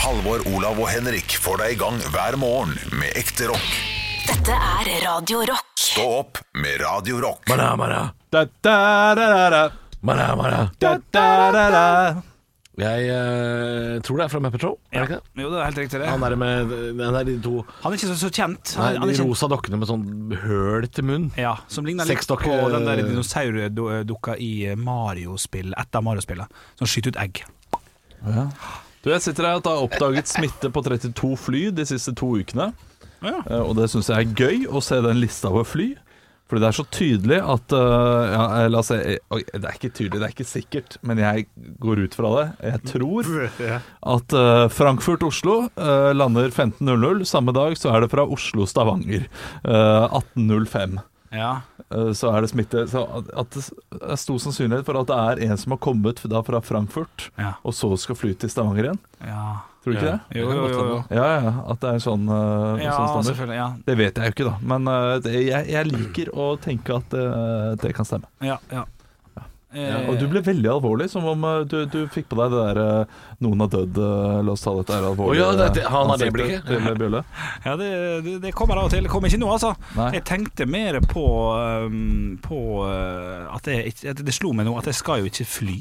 Halvor, Olav og Henrik får deg i gang hver morgen med ekte rock. Dette er Radio Rock. Stå opp med Radio Rock. Mara, mara, Da, da, da, da, da. mara, mara. Da, da, da, da. Jeg eh, tror det er fra Mapper Troll. Er det ikke det? Jo, det er helt riktig det. Han er med den der de to Han er ikke så, så kjent. nei, Han, han de er kjent. rosa dokkene med sånn høl til munn. Ja, som ligner litt Seks dokker- på den der dinosaurdukka i eh, Mario-spill, et av Mario-spillene, som skyter ut egg. Du, jeg sitter her at det har oppdaget smitte på 32 fly de siste to ukene. Ja. Eh, Og det syns jeg er gøy å se den lista over fly. Fordi det er så tydelig at eh, ja, eh, La oss se eh, ok, Det er ikke tydelig, det er ikke sikkert, men jeg går ut fra det. Jeg tror at eh, Frankfurt-Oslo eh, lander 15.00. Samme dag så er det fra Oslo-Stavanger eh, 18.05. Ja. Eh, så er det smitte. Så at- at det s- er stor sannsynlighet for at det er en som har kommet da fra Frankfurt, Ja. og så skal fly til Stavanger igjen. ja. Tror du ikke det? Jo, jo, jo. jo. Ja, ja, at det er en sånn, uh, Ja, altså- sånn stemmer. selvfølgelig. Ja. Det vet jeg jo ikke, da. Men eh, det, jeg, jeg liker å tenke at eh, det kan stemme. Ja, ja. Eh, Og du ble veldig alvorlig, som om eh, du, du fikk på deg det der eh, 'noen har dødd', eh, la oss ta dette her alvorlig. Å ja, det- det- han har det ansiktet blikket. til eh, Bjølle. ja det, det, det kommer av og til. Det kommer ikke nå, altså. Nei. Jeg tenkte mer på, um, på uh, at, jeg, ikke- at det slo meg nå at jeg skal jo ikke fly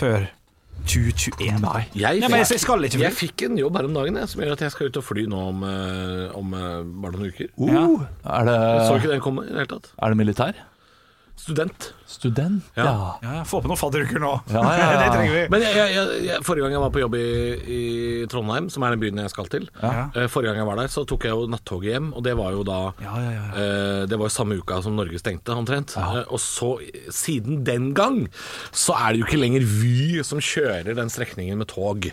før 2021. Nei, Jeg, men jeg, jeg skal ikke fly. jeg fikk en jobb her om dagen jeg, som gjør at jeg skal ut og fly nå om, eh, om eh, bare noen uker. Uh, er, Jeg så det, ikke den komme i det hele tatt. er det militær? Student. Student? Ja. Ja, ja, få på noen fadderuker nå. Ja, ja, ja. det trenger vi. Men jeg, jeg, jeg, jeg, forrige gang jeg var på jobb i, i Trondheim, som er den byen jeg skal til, Ja. eh, forrige gang jeg var der, så tok jeg jo nattoget hjem, og det var jo da Ja, ja, ja. Eh, Det var jo samme uka som Norge stengte, omtrent. Eh, Og så, siden den gang, så er det jo ikke lenger Vy som kjører den strekningen med tog.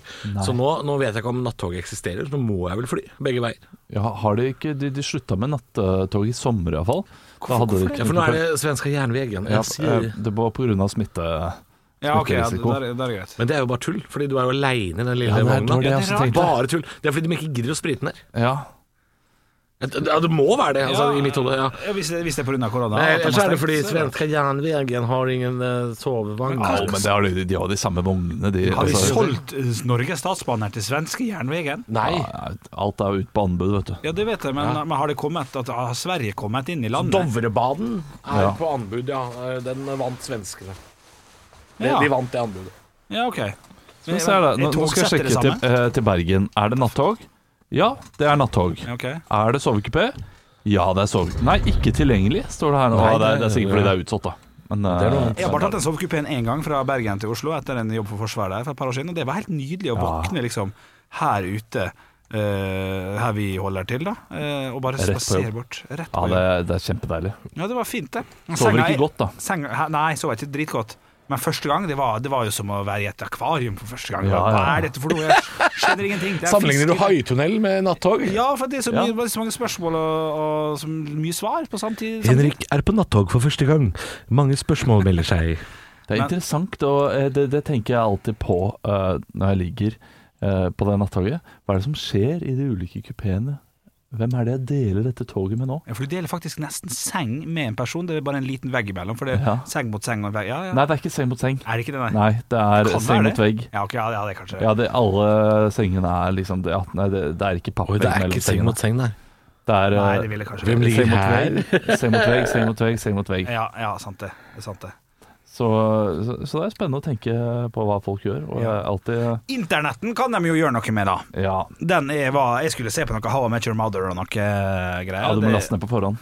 Så nå, nå vet jeg ikke om nattoget eksisterer, så nå må jeg vel fly begge veier. Ja, har de ikke De, de slutta med nattog i sommer, iallfall. Ja, for nå er det svenska jernvegen. ja, Jeg sier- eh, Det var pga. smitte. Ja, ok, ja, det, Smitterisiko. der, er- der er greit. Men det er jo bare tull, fordi du er jo aleine i den lille Ja, det er- det vogna. var det jeg også tenkte. bare tull. Det er fordi de ikke gidder å sprite den der. Ja. Ja, det må være det, altså, Ja. i mitt hode. Ja. Ja, hvis, det, hvis det er pga. korona. Nei, at de Ellers har er det stengt, fordi så er det- svenska jernvegen har ingen eh, sovevogn. Au, men det har de, de har de samme vognene, de. Har vi altså- solgt eh, Norges statsbaner til svenske Jernvegen? Nei. Ja, alt er ute på anbud, vet du. Ja, det vet jeg, men, men har, det kommet, at, har Sverige kommet inn i landet? Dovrebaden er Ja. på anbud, ja. Eh, Den vant svenskene. De, Ja. de vant det anbudet. Ja, ok. Skal vi se her da. Nå, Er nå skal jeg togsettet det sjekke til, samme? eh, til Bergen. Er det nattog? Ja, det er nattog. Ja, ok. Er det sovekupé? Ja, det er sovekupé. Nei, ikke tilgjengelig, står det her nå. Nei, Ja, det, er, det er sikkert ja. fordi det er utsatt, da. Men, er noe eh, annet. Jeg har bare tatt en sovekupé én gang fra Bergen til Oslo etter en jobb for Forsvaret der for et par år siden, og det var helt nydelig å våkne liksom her ute, eh, her vi holder til, da, eh, og bare Rett på spasere jobb. bort. Rett ja, på det, jobb. det er kjempedeilig. Ja, det var fint, det. Sover Senga- ikke godt, da. Senga, hæ, nei, så var jeg ikke dritgodt. Men første gang, det var, det var jo som å være i et akvarium for første gang. Ja, ja, ja. Hva er dette for noe? Jeg skjønner ingenting. Det er Sammenligner du fisk- haitunnel med nattog? Ja, for det er så, mye, Ja. det er så mange spørsmål og, og så mye svar på samtidig. Henrik er på nattog for første gang. Mange spørsmål melder seg. Det er Men- interessant, og eh, det, det tenker jeg alltid på eh, når jeg ligger eh, på det nattoget. Hva er det som skjer i de ulike kupeene? Hvem er det jeg deler dette toget med nå? Ja, for du deler faktisk nesten seng med en person. Det er bare en liten vegg imellom. For det er Ja. seng mot seng og en vegg. Ja, ja. Nei, det er ikke seng mot seng. Er det ikke det, nei? Nei, det er Det kan være seng mot vegg. Ja, ok, ja, ja, det er kanskje det. Ja, det, alle sengene er liksom det, ja, nei, det, det er ikke pappvegg Oi, det er mellom ikke seng sengene. mot seng der. Det er Nei, eh, det ville kanskje Hvem ligger seng mot her? vegg, seng mot vegg, seng mot vegg, seng mot vegg. Ja, ja, sant det. det, er sant det. Så, så, så det er spennende å tenke på hva folk gjør. Og jeg er alltid Internetten kan de jo gjøre noe med, da. Ja, Den er, var, jeg skulle se på noe How I Met Your Mother og noe eh, greier. ja du må Det- laste ned på forhånd.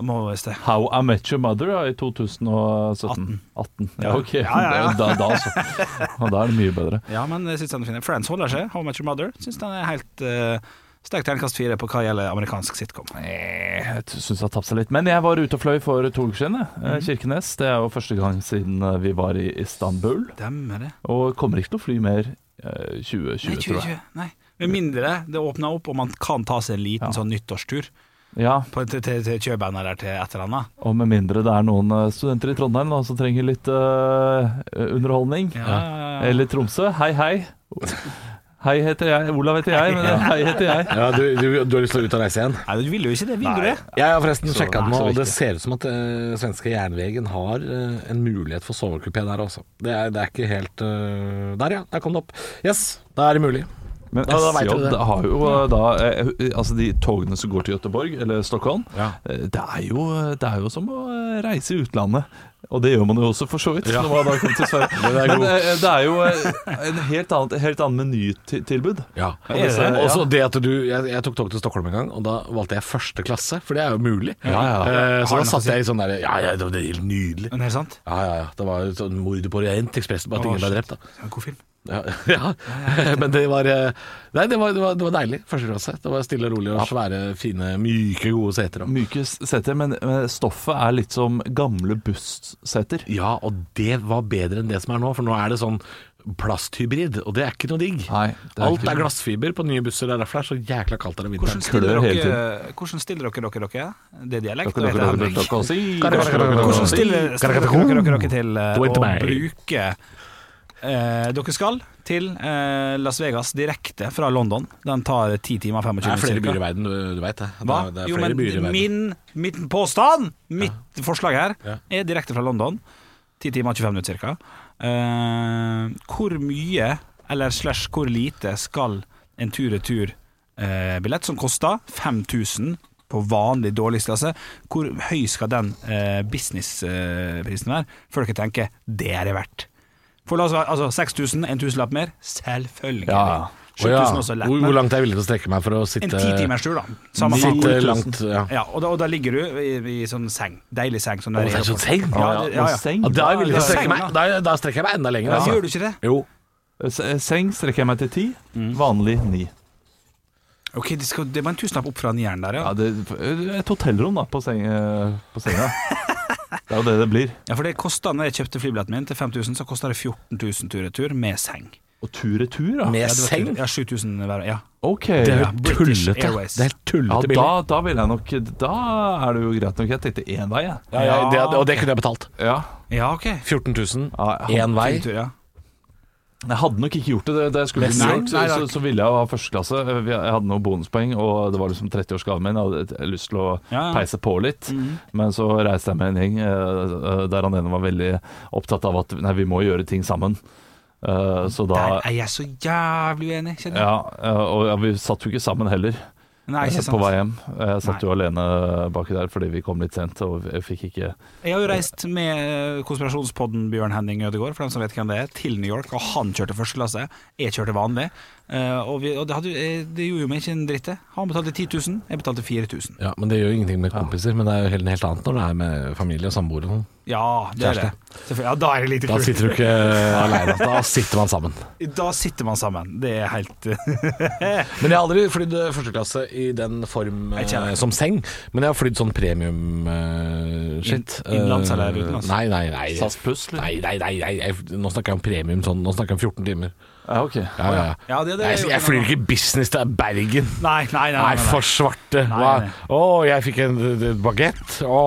Må visst det. How I Met Your Mother ja, i 2017. 18. Ja, ok. Ja, ja, ja. Da, da, altså. Ja, da er det mye bedre. Ja, men jeg synes den er fin. Friends holder seg. How I Met Your Mother syns den er helt uh, sterk terningkast fire på hva gjelder amerikansk sitcom. Eh, Jeg syns jeg har tapt seg litt. Men jeg var ute og fløy for to uker siden. jeg. Eh, Kirkenes. Det er jo første gang siden eh, vi var i Istanbul. Demmer det. Og kommer ikke til å fly mer eh, 2020, Nei, tror 2020. jeg. Nei. Med mindre det åpner opp og man kan ta seg en liten sånn nyttårstur Ja, på, til, til, til København eller til et eller annet. Og med mindre det er noen eh, studenter i Trondheim da, som trenger litt eh, underholdning. Ja, ja, ja. Eller Tromsø. Hei, hei. Hei heter jeg. Olav heter jeg, men hei heter jeg. Ja, du, du, du har lyst til å ut og reise igjen? Nei, du vil jo ikke det. Vil du det? Jeg har forresten Så- sjekka den nå, så og det viktig. ser ut som at eh, svenske Jernvegen har eh, en mulighet for sovekupé der også. Det er, det er ikke helt eh, Der, ja. Der kom det opp. Yes, da er det mulig. Men Ja, da vet SJ du det. har jo eh, da eh, Altså de togene som går til Göteborg eller Stockholm, Ja. eh, det, er jo, det er jo som å eh, reise i utlandet. Og det gjør man jo også, for så vidt. Når man da kommer til Sverige. Den er Men god. eh, det er jo eh, en helt annet, helt annet menytilbud. Ja. Er det det? Også det at du jeg, jeg tok tog til Stockholm en gang, og da valgte jeg første klasse, for det er jo mulig. ja, Eh, så da Har du noe å satt si? jeg i sånn der Ja, ja, det var helt nydelig. Men er det sant? Ja, ja, ja. Det var jo sånn mordet på Orientekspressen, bare at Å, ingen ble shit. drept, da. Ja, God film. Ja, ja. Men det var eh, Nei, det var, det var, det var deilig. Første klasse. Det var stille og rolig og svære, fine, myke, gode seter. og- Myke seter, men eh, stoffet er litt som gamle busseter. Ja, og det var bedre enn det som er nå, for nå er det sånn plasthybrid, og det er ikke noe digg. Nei, det er Alt ikke- er glassfiber på nye busser, det er derfor det er så jækla kaldt her om Hvordan vinteren. stiller, klør hele dere, hvordan stiller dere dere dere? Det er dialekt, Dere- og jeg dere- heter dere- Henrik. dere- si- Dere- dere- dere- dere- Hvordan dere- stiller, stiller dere dere, dere til eh, Do it to å me. bruke eh, Dere skal til eh, Las Vegas direkte fra London. Den tar 10 timer og 25 Det er flere byer i cirka. verden, du, du veit det. Hva? Det er, det er Jo, flere men byer i verden. min, min påstand, mitt forslag her, Ja. er direkte fra London. 10 timer og 25 minutter ca. hvor mye, eller slash hvor lite, skal en tur-retur-billett, som koster 5000 på vanlig dårligst klasse, hvor høy skal den eh, businessprisen være før dere tenker det er det verdt? For la oss være, altså 6000, en tusenlapp mer? Selvfølgelig. Ja, ja. 7000 Å ja, også lett, Hvor, men hvor langt er jeg villig til å strekke meg for å en sitte ti timers tur, da. Samme faen. Sitte 10 000. eh, langt ja. Ja, og da, og da ligger du i, i sånn seng. Deilig seng. Sånn Å, der det er sånn seng? Ja, Ja, det- ja, og ja. seng. Ja, da er jeg villig til å Ja, strekke senga. meg Da, da strekker jeg meg enda lenger. Ja, altså. Gjør du ikke det? Jo. S- Seng strekker jeg meg til ti, vanlig ni. Ok, det, skal, det var en tusenlapp opp fra nieren der, ja. Ja, det, et hotellrom da, på, seng, eh, på senga. Det er jo det det blir. ja for det kosta, når jeg kjøpte flybilletten min til 5000, så kosta det 14 000 tur-retur med seng. Og tur-retur, da. Med Ja, det var seng? tur- Ja, 7000 hver. Ja. Ok. Det er Ja, jo Ja, British tullete. Airways. Det er helt ja tullete da, billig. da vil jeg nok Da er det jo greit nok. Jeg tenkte én vei, jeg. Ja, ja, det, og det kunne jeg betalt. Ja. ja, ok. 14 000 Ja, jeg, én vei. Tur, ja. jeg hadde nok ikke gjort det. Da jeg skulle til New Nei, York, så, nei, så, nei. så ville jeg ha førsteklasse. Jeg hadde noen bonuspoeng, og det var liksom 30-årsgaven min. Jeg hadde jeg lyst til å Ja, ja. peise på litt. Men så reiste jeg med en gjeng eh, eh, der han ene var veldig opptatt av at nei, vi må gjøre ting sammen. Eh, så da Der er jeg så jævlig uenig, kjenner jeg. Ja, eh, og ja, vi satt jo ikke sammen heller Nei, ikke på vei sant. hjem. Eh, Jeg satt jo alene baki der fordi vi kom litt sent og jeg fikk ikke Jeg har jo reist med eh, konspirasjonspodden Bjørn Henning Ødegaard, for dem som vet hvem det er, til New York, og han kjørte første klasse. Jeg kjørte vanlig. Eh, Og, vi, og det, hadde, eh, det gjorde jo meg ikke en dritt, det. Han betalte 10 000, jeg betalte 4000. Ja, men Det gjør jo ingenting med kompiser, men det er jo helt, helt annet når det er med familie og samboere. og sånn. Ja, det er det. Selvfølgelig. Ja, da er det lite Da kult. sitter du ikke aleine, da sitter man sammen. Da sitter man sammen. Det er helt Men jeg har aldri flydd eh, førsteklasse i den form eh, Jeg kjenner. som seng, men jeg har flydd sånn premium eh, shit. In- innenlands Eh, eller utenlands? Nei, nei, nei. SAS pluss, eller? Nei, nei, nei, nei. Jeg, nå snakker jeg om premium sånn, nå snakker jeg om 14 timer. Ja, ok. Ja, ja. Ja, det- det er jeg, jo jeg flyr ikke business til Bergen. Nei, nei, nei. nei, Nei, nei. for svarte. Hva? Nei, nei. Å, jeg fikk en bagett. Å,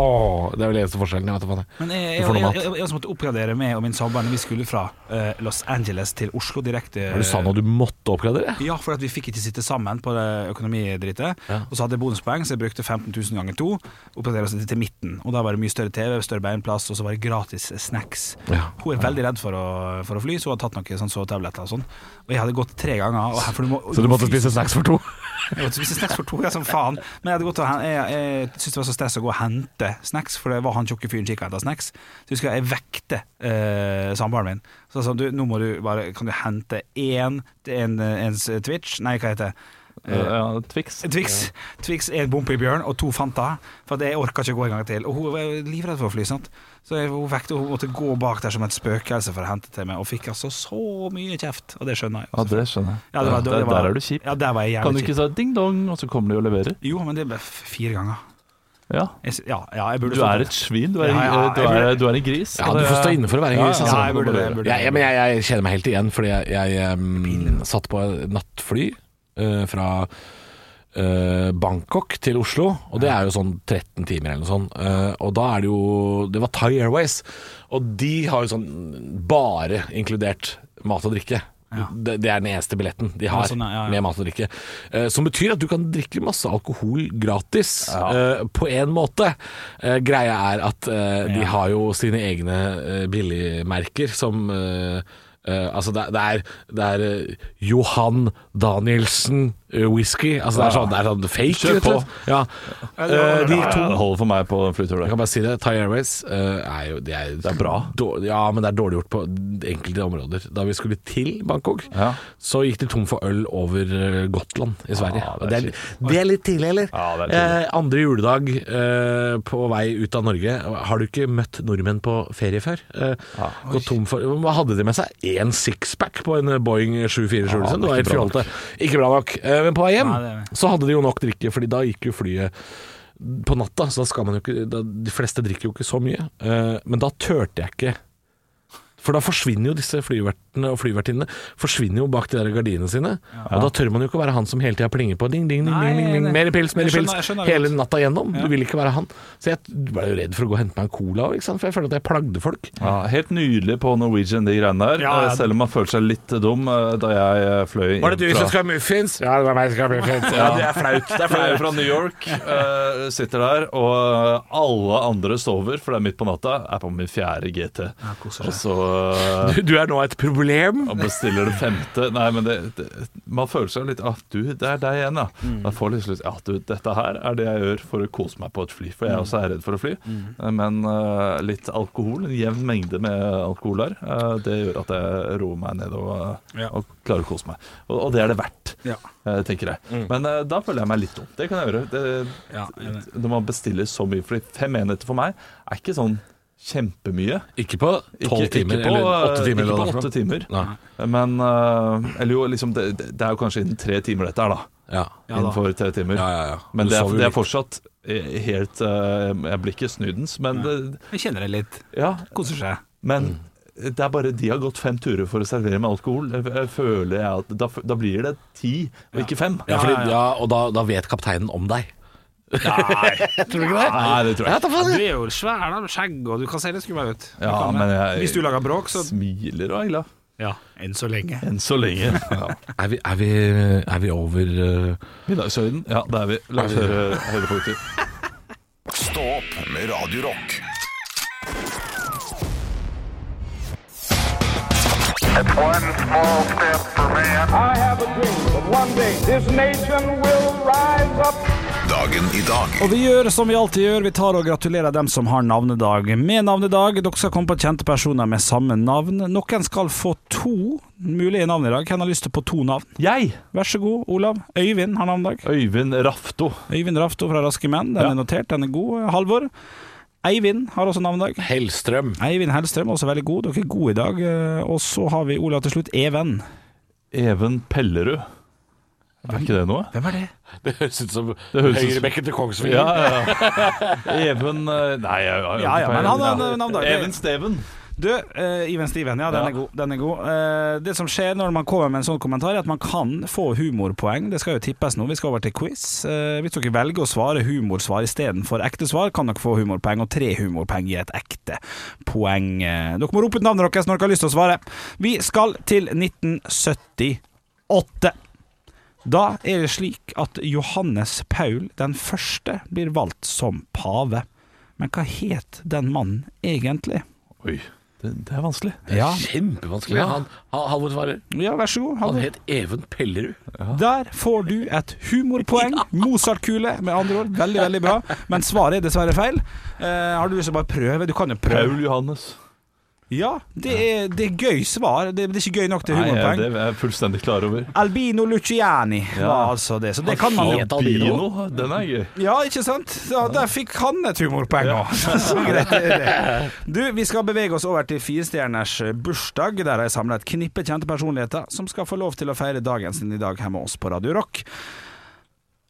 det er vel eneste forskjellen. Jeg vet da faen. jeg. Men jeg, Du jeg, får jeg, noe jeg, mat. jeg, også måtte oppgradere meg og min samboer når vi skulle fra eh, Los Angeles til Oslo direkte. Du sa nå du måtte oppgradere. Ja, for at vi fikk ikke sitte sammen på det økonomidrittet. Ja. Og så hadde jeg bonuspoeng, så jeg brukte 15 000 ganger to. Oppgraderte oss til midten. Og da var det mye større TV, større beinplass, og så var det gratis snacks. Ja. Hun er veldig redd for å, for å fly, så hun hadde tatt noen sånn sovetabletter og sånn. Og jeg hadde gått tre ganger. Og, for du må, Så du måtte spise snacks for to? Jeg måtte spise snacks for to, jeg som faen. Men jeg, hadde gått og, hen- jeg, jeg syntes det var så stress å gå og hente snacks, for det var han tjukke fyren som gikk og henta snacks. Så husker jeg jeg vekte eh, samboeren min. Så jeg sa du, nå må du bare Kan du hente én til en, ens Twitch Nei, hva heter det? Ja, Twix. Twix. Twix, en bompe i bjørn og to Fanta. For at jeg orka ikke å gå en gang til. Og hun var jo livredd for å fly, sant. Så jeg, hun vekte og hun måtte gå bak der som et spøkelse for å hente til meg, og fikk altså så mye kjeft. Og det skjønner jeg. altså. Ja, det skjønner jeg. Ja, det var- det der, var- der er du kjip. Ja, der var jeg jævlig Kan du ikke si ding-dong, og så kommer de og leverer? Jo, men det ble f- fire ganger. Ja. Jeg, s- ja, ja, jeg burde Du stått er der. et svin. Du er, Ja, ja, du er, du er en gris. Ja, du får stå inne for å være en gris, Ja, altså. Ja, jeg burde det. Jeg burde Ja, det. ja, men jeg, jeg kjenner meg helt igjen, fordi jeg, jeg em, satt på et nattfly eh, fra eh, Bangkok til Oslo, og det er jo sånn 13 timer eller noe sånt. Eh, og da er det jo Det var Thai Airways, og de har jo sånn bare inkludert mat og drikke. Det, det er den eneste billetten de har Ja, sånn, ja, ja. med mat og drikke. Eh, som betyr at du kan drikke masse alkohol gratis, eh, på en måte. Eh, greia er at eh, de har jo sine egne eh, billigmerker som eh, eh, altså det, er- det er, det er eh, Johan Danielsen-whisky. Altså det, er sånn, det er sånn fake. Kjør rett og slett. Ja. Eh, de Ja, to det holder for meg på den jeg flyturen. der. kan bare si det. Thai Airways eh, er jo det er, er bra. Dår, ja, men det er dårlig gjort på enkelte områder. Da vi skulle til Bangkok, Ja. så gikk de tom for øl over eh, Gotland i Sverige. Ah, Og det det, er er, det er litt tidlig, eller? Ja, det er tidlig. Eh, andre juledag eh, på vei ut av Norge. Har du ikke møtt nordmenn på ferie før? Eh, Ah, gått tom for Hva hadde de med seg? Én sixpack på en Boeing 747? Ja, det var helt Ah, det er ikke bra nok. fjolte. Ikke bra nok. Eh, men på vei hjem Nei, det er det. så hadde de jo nok drikke, Fordi da gikk jo flyet på natta, så da skal man jo ikke da, De fleste drikker jo ikke så mye. Eh, men da turte jeg ikke. For da forsvinner jo disse flyvertene og flyvertinnene Forsvinner jo bak de der gardinene sine. Og da tør man jo ikke å være han som hele tida plinger på. Ding, ding, ding, Nei, ding, ding, nei. ding. Mer pils, mer Jeg skjønner- pils. jeg skjønner hele godt. natta gjennom. Ja. Du vil ikke være han. Så jeg ble jo redd for å gå og hente meg en cola òg, for jeg føler at jeg plagde folk. Ja, helt nydelig på Norwegian, de greiene der. Ja, ja. Eh, Selv om man følte seg litt dum eh, da jeg eh, fløy inn ha muffins? Ja, det var meg som skal ha muffins. Ja, det er flaut. Det er flaut fra New York. eh, sitter der, og eh, alle andre sover, for det er midt på natta. Er på min fjerde GT. Og så eh, Du er nå et problem. og bestiller det femte. Nei, men det, det, man føler seg litt ah, du, det er deg igjen, ja. Man får litt lyst Ja, du, dette her er det jeg gjør for å kose meg på et fly. For jeg også er redd for å fly. Men eh, litt alkohol, en jevn mengde med alkohol der, eh, det gjør at jeg roer meg ned og, Ja. og klarer å kose meg. Og, og det er det verdt, Ja. eh, tenker jeg. Mm. Men eh, da føler jeg meg litt dum. Det kan jeg gjøre. Det, Ja, enig. når man bestiller så mye fly. Fem enheter for meg er ikke sånn kjempemye. Ikke på tolv timer, ikke på, eh, eller åtte timer. Ikke eller hva på det er for åtte noe. timer. Nei. Men eh, Eller jo, liksom det, det det er jo kanskje innen tre timer dette her, da. Ja. Ja, da. Innenfor tre timer. Ja, ja, ja. Men Du det sover er, jo det litt. er fortsatt eh, helt eh, Jeg blir ikke snudens, men det, Jeg kjenner det litt. Ja, Koser seg. men Mm. det er bare de har gått fem turer for å servere med alkohol. Jeg- jeg Føler jeg at Da, da blir det ti, og ikke fem. Ja, fordi, ja, og da, da vet kapteinen om deg. Tror du ikke det? Nei, det tror jeg ikke. Du er jo svær da, med skjegg, og du kan se litt skummel ut. Du Ja, kan det. men jeg- Hvis du lager bråk, så Smiler og er glad. Ja, enn så lenge. Enn så lenge. Ja. Er vi, er vi, er vi over eh, Middagshøyden, ja, det er vi. La oss høre høydepunkter. Stå opp med Radio Rock. One small step for man. I have a dream that one day this nation will rise up. Dagen i dag. Og vi gjør som vi alltid gjør, vi tar og gratulerer dem som har navnedag med navnedag. Dere skal komme på kjente personer med samme navn. Noen skal få to mulige navn i dag. Hvem har lyst til på to navn? Jeg, Vær så god, Olav. Øyvind har navnedag. Øyvind Rafto. Øyvind Rafto fra Raske menn. Den Ja. er notert, den er god. Halvor. Eivind har også navnedag. Hellstrøm? Eivind Hellstrøm, også veldig god. Dere er gode i dag. Eh, Og så har vi Olav til slutt. Even. Even Pellerud. Er ikke det noe? Hvem er det? Det høres ut som høres ut som- høyrebekken til Kongsvinger. Ja, ja. Even eh, Nei, jeg, jeg, jeg, Ja, ja, men han har en- en navndag. Even Steven. Du, eh, Even Steven, ja, den Ja. er god. Den er god. Eh, det som skjer når man kommer med en sånn kommentar, er at man kan få humorpoeng. Det skal jo tippes nå. Vi skal over til quiz. Eh, hvis dere velger å svare humorsvar istedenfor ekte svar, kan dere få humorpoeng, og tre humorpoeng gir et ekte poeng. Eh, dere må rope ut navnet deres når dere har lyst til å svare. Vi skal til 1978. Da er det slik at Johannes Paul den første blir valgt som pave. Men hva het den mannen egentlig? Oi, det, det er vanskelig. Ja, Kjempevanskelig. Han, han, Halvor svarer. Ja, vær så god. Han Halvor. het Even Pellerud. Der får du et humorpoeng. Mozart-kule, med andre ord. Veldig, veldig bra. Men svaret er dessverre feil. Eh, har du lyst til å bare prøve? Du kan jo prøve. Paul Johannes. Ja, det er, det er gøy svar. Det, det er ikke gøy nok til Nei, ja, humorpoeng. det er jeg fullstendig klar over. Albino Luciani Ja. var altså det. Så det kan man het Albino. Albino, den er gøy. Ja, ikke sant? Så der fikk han et humorpoeng òg. Så greit er det. Du, vi skal bevege oss over til firestjerners eh, bursdag. Der har jeg samla et knippe kjente personligheter som skal få lov til å feire dagen sin i dag her med oss på Radio Rock.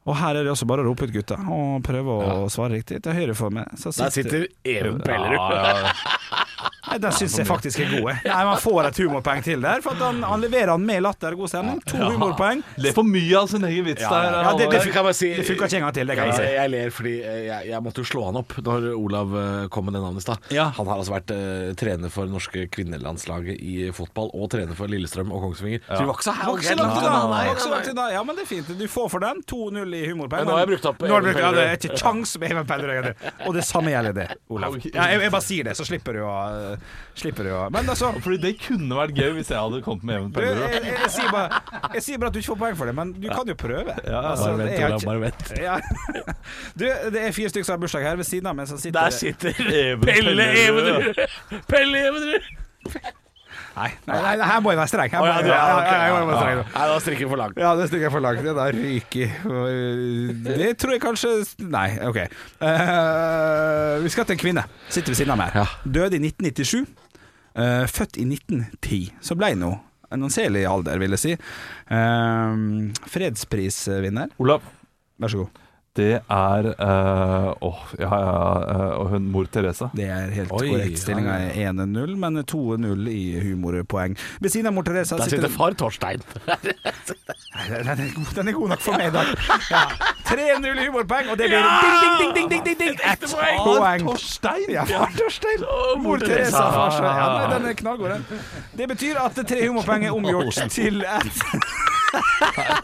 Og her er det også bare å rope ut gutta og prøve å svare riktig. Til høyre for meg så Der sitter Even Pellerud. Nei, den syns jeg faktisk er god. jeg. Nei, man får et humorpoeng til der, for at han, han leverer han med latter og god stemning. To humorpoeng. Litt for mye av sin egen vits der. Ja, det, det, Halvor. Kan jeg bare si- det funka ikke en gang til, det kan Jeg, jeg si. jeg ler fordi eh, jeg, jeg måtte jo slå han opp når Olav eh, kom med det navnet i stad. Ja. Han har altså vært eh, trener for norske kvinnelandslaget i fotball, og trener for Lillestrøm og Kongsvinger. Så vi var ikke så Det var ikke så herlige. langt Nei, unna. det var nei, ikke så nei. langt unna. Ja, men det er fint. Du får for den 2-0 i humorpoeng. Men nå har jeg brukt opp Nå har du Even brukt- ja, det er Pellerud. ikke kjangs med Even Pellerud. Og det samme gjelder det, Olav. Ja, jeg, jeg bare sier det, så slipper du å eh, slipper du å Men altså Fordi det kunne vært gøy hvis jeg hadde kommet med jevn du, jeg, pennebrød. jeg, jeg, sier bare, jeg sier bare at du ikke får poeng for det, men du kan jo prøve. Altså, Bare vent, jeg har Olav, ikke- bare vent. Ja. Du, det er fire stykker som har bursdag her ved siden av meg. Som sitter Der sitter Pelle Pellerud. Evenrud! Pelle Evenrud! Nei, nei, nei, her må jeg være streng. Her må ja, jeg- du er- ja, ok, ja, jeg må være streng. Nei, da strikker for langt. Ja, det stikker jeg for langt. Det der ryker. Det tror jeg kanskje Nei, OK. Eh, vi skal til en kvinne. Sitter ved siden av meg. her. Døde i 1997. Eh, født i 1910. Så ble hun nå en anselig alder, vil jeg si. Eh, fredsprisvinner. Olav, Vær så god. det er eh, Åh, ja, ja, eh, og hun mor Therese. Det er helt Oi, korrekt. Stillinga er 1-0, men 2-0 i humorpoeng. Ved siden av mor Teresa Der sitter far Torstein. Den er, god, den er god nok for meg i dag. Ja. 3-0 i humorpoeng, og det blir ding, ding, ding, ding, ding, ding, ding. Ett poeng. Torstein! Ja, far Torstein. Mor Teresa, far Svein. Ja, nei, den er knallgod, den. Det betyr at tre humorpoeng er omgjort til ett.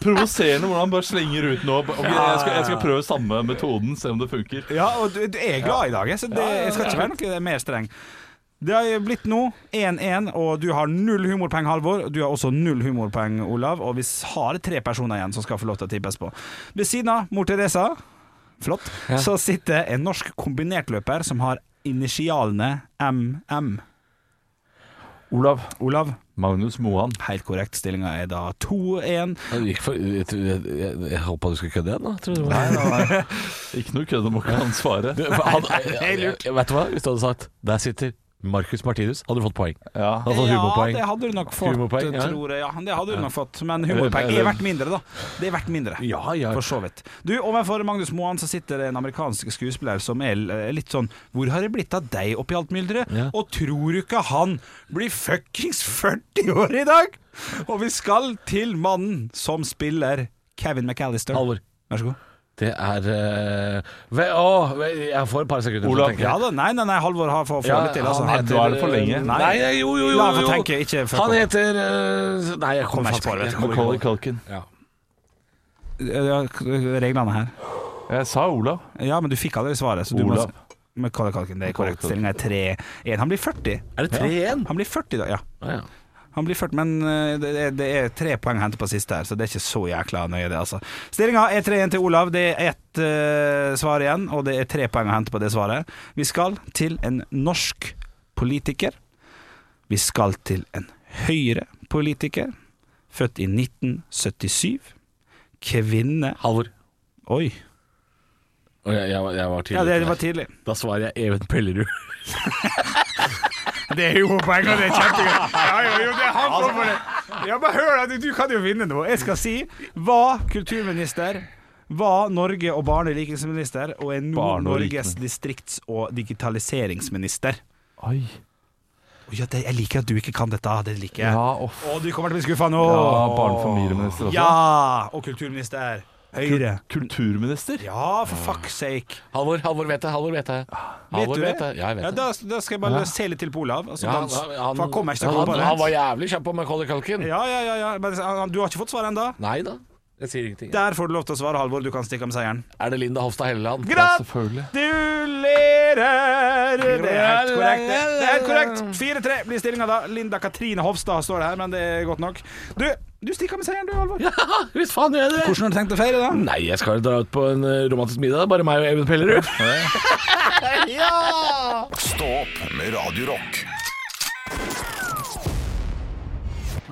Provoserende hvordan han bare slenger ut nå. Ok, jeg, skal, jeg skal prøve samme metoden, se om det funker. Ja, og du, du er glad i dag, jeg, så det, jeg skal ikke være noe eh, mer streng. Det har blitt nå 1-1, og du har null humorpoeng, Halvor. Du har også null humorpoeng, Olav. Og vi har tre personer igjen som skal få lov til å tippes på. Ved siden av mor Teresa, flott, så sitter en norsk kombinertløper som har initialene MM. Olav. Olav, Magnus Moan. helt korrekt. Stillinga er da 2-1. Jeg, jeg, jeg, jeg, jeg håpa du skulle kødde igjen. da tror du- Ikke noe kødd om å kan svare. Du, for han, vet du hva? Hvis du hadde sagt Der sitter Marcus Martinus, hadde du fått poeng. Ja. Altså humorpoeng. Ja, det hadde du nok fått, Humorpoeng, ja. tror jeg. Ja, det hadde du nok fått, men humorpoeng er verdt mindre, da. Det er verdt mindre. Ja, ja. For så vidt. Du, overfor Magnus Moan så sitter det en amerikansk skuespiller som er eh, litt sånn Hvor har det blitt av deg oppi alt mylderet? Ja. Og tror du ikke han blir fuckings 40 år i dag?! Og vi skal til mannen som spiller Kevin McAllister. Halvor. Vær så god. Det er eh, ve, å, ve, Jeg får et par sekunder Olav, tenke. Ja da, nei, nei, nei, Halvor har fått litt til, altså. han eh, Nei, da er det for lenge. Nei, nei, jo, jo, jo. La meg jo. tenke, ikke fuck han opp. heter eh, Nei, jeg kommer Kommer ikke på det, vet du. jeg kommer Macaulay ikke på Culkin. det. Ja. Ja, Reglene her. Jeg sa Olav. Ja, men du fikk aldri svaret. Så du Olav. Må, men Kalle Kalken, det er korrekt. Kalle Stillinga er 3-1. Han blir 40. Er det 3-1? Han blir 40 da, ja. Ah, ja. Han blir 40, men eh, det er, det er tre poeng å hente på siste her, så det er ikke så jækla nøye, det, altså. Stillinga er 3-1 til Olav. Det er ett eh, svar igjen, og det er tre poeng å hente på det svaret. Vi skal til en norsk politiker. Vi skal til en Høyre-politiker, født i 1977. Kvinne Halvor. Oi. Å, jeg, jeg, var- jeg var tidlig. Ja, det ute var der. tidlig. Da svarer jeg Even Pellerud. Det er humorpoeng, og det er kjempegøy. Ja, jo, jo, det er han som får det. Ja, bare hør, da, du, du kan jo vinne nå. Jeg skal si var kulturminister, var Norge og barne- og likestillingsminister, og er nå Barne- og Norges distrikts- og digitaliseringsminister. Oi. Å, Ja, det, jeg liker at du ikke kan dette. Det liker jeg. Ja, off. Å, du kommer til å bli skuffa nå. Ja, barne- og familieminister også. Ja, og kulturminister. Høyre. Kulturminister? Ja, for fuck's sake. Halvor, Halvor vet det. Halvor Ah, vet det. Halvor du det? vet det. Ja, jeg vet Ja, det. da, da skal jeg bare se litt til på Olav. Altså, Ja, dans. for han kommer ikke til å han- komme på Han var det. jævlig kjapp på Macaulay Culkin. Ja, ja, ja, ja. Men eh, han- du har ikke fått svar ennå? Nei da. Jeg sier ingenting. Der får du lov til å svare, Halvor. Du kan stikke av med seieren. Er det Linda Hofstad Helleland? Selvfølgelig. Gratulerer! Det er helt korrekt. det. Det er helt korrekt. 4-3 blir stillinga da. Linda Katrine Hofstad står det her, men det er godt nok. Du, du stikker av med seieren, du, Halvor. Ja, hvis faen gjør jeg det! Hvordan har du tenkt å feire, da? Nei, jeg skal jo dra ut på en eh, romantisk middag. Bare meg og Even Pellerud. Stå opp med Radio Rock.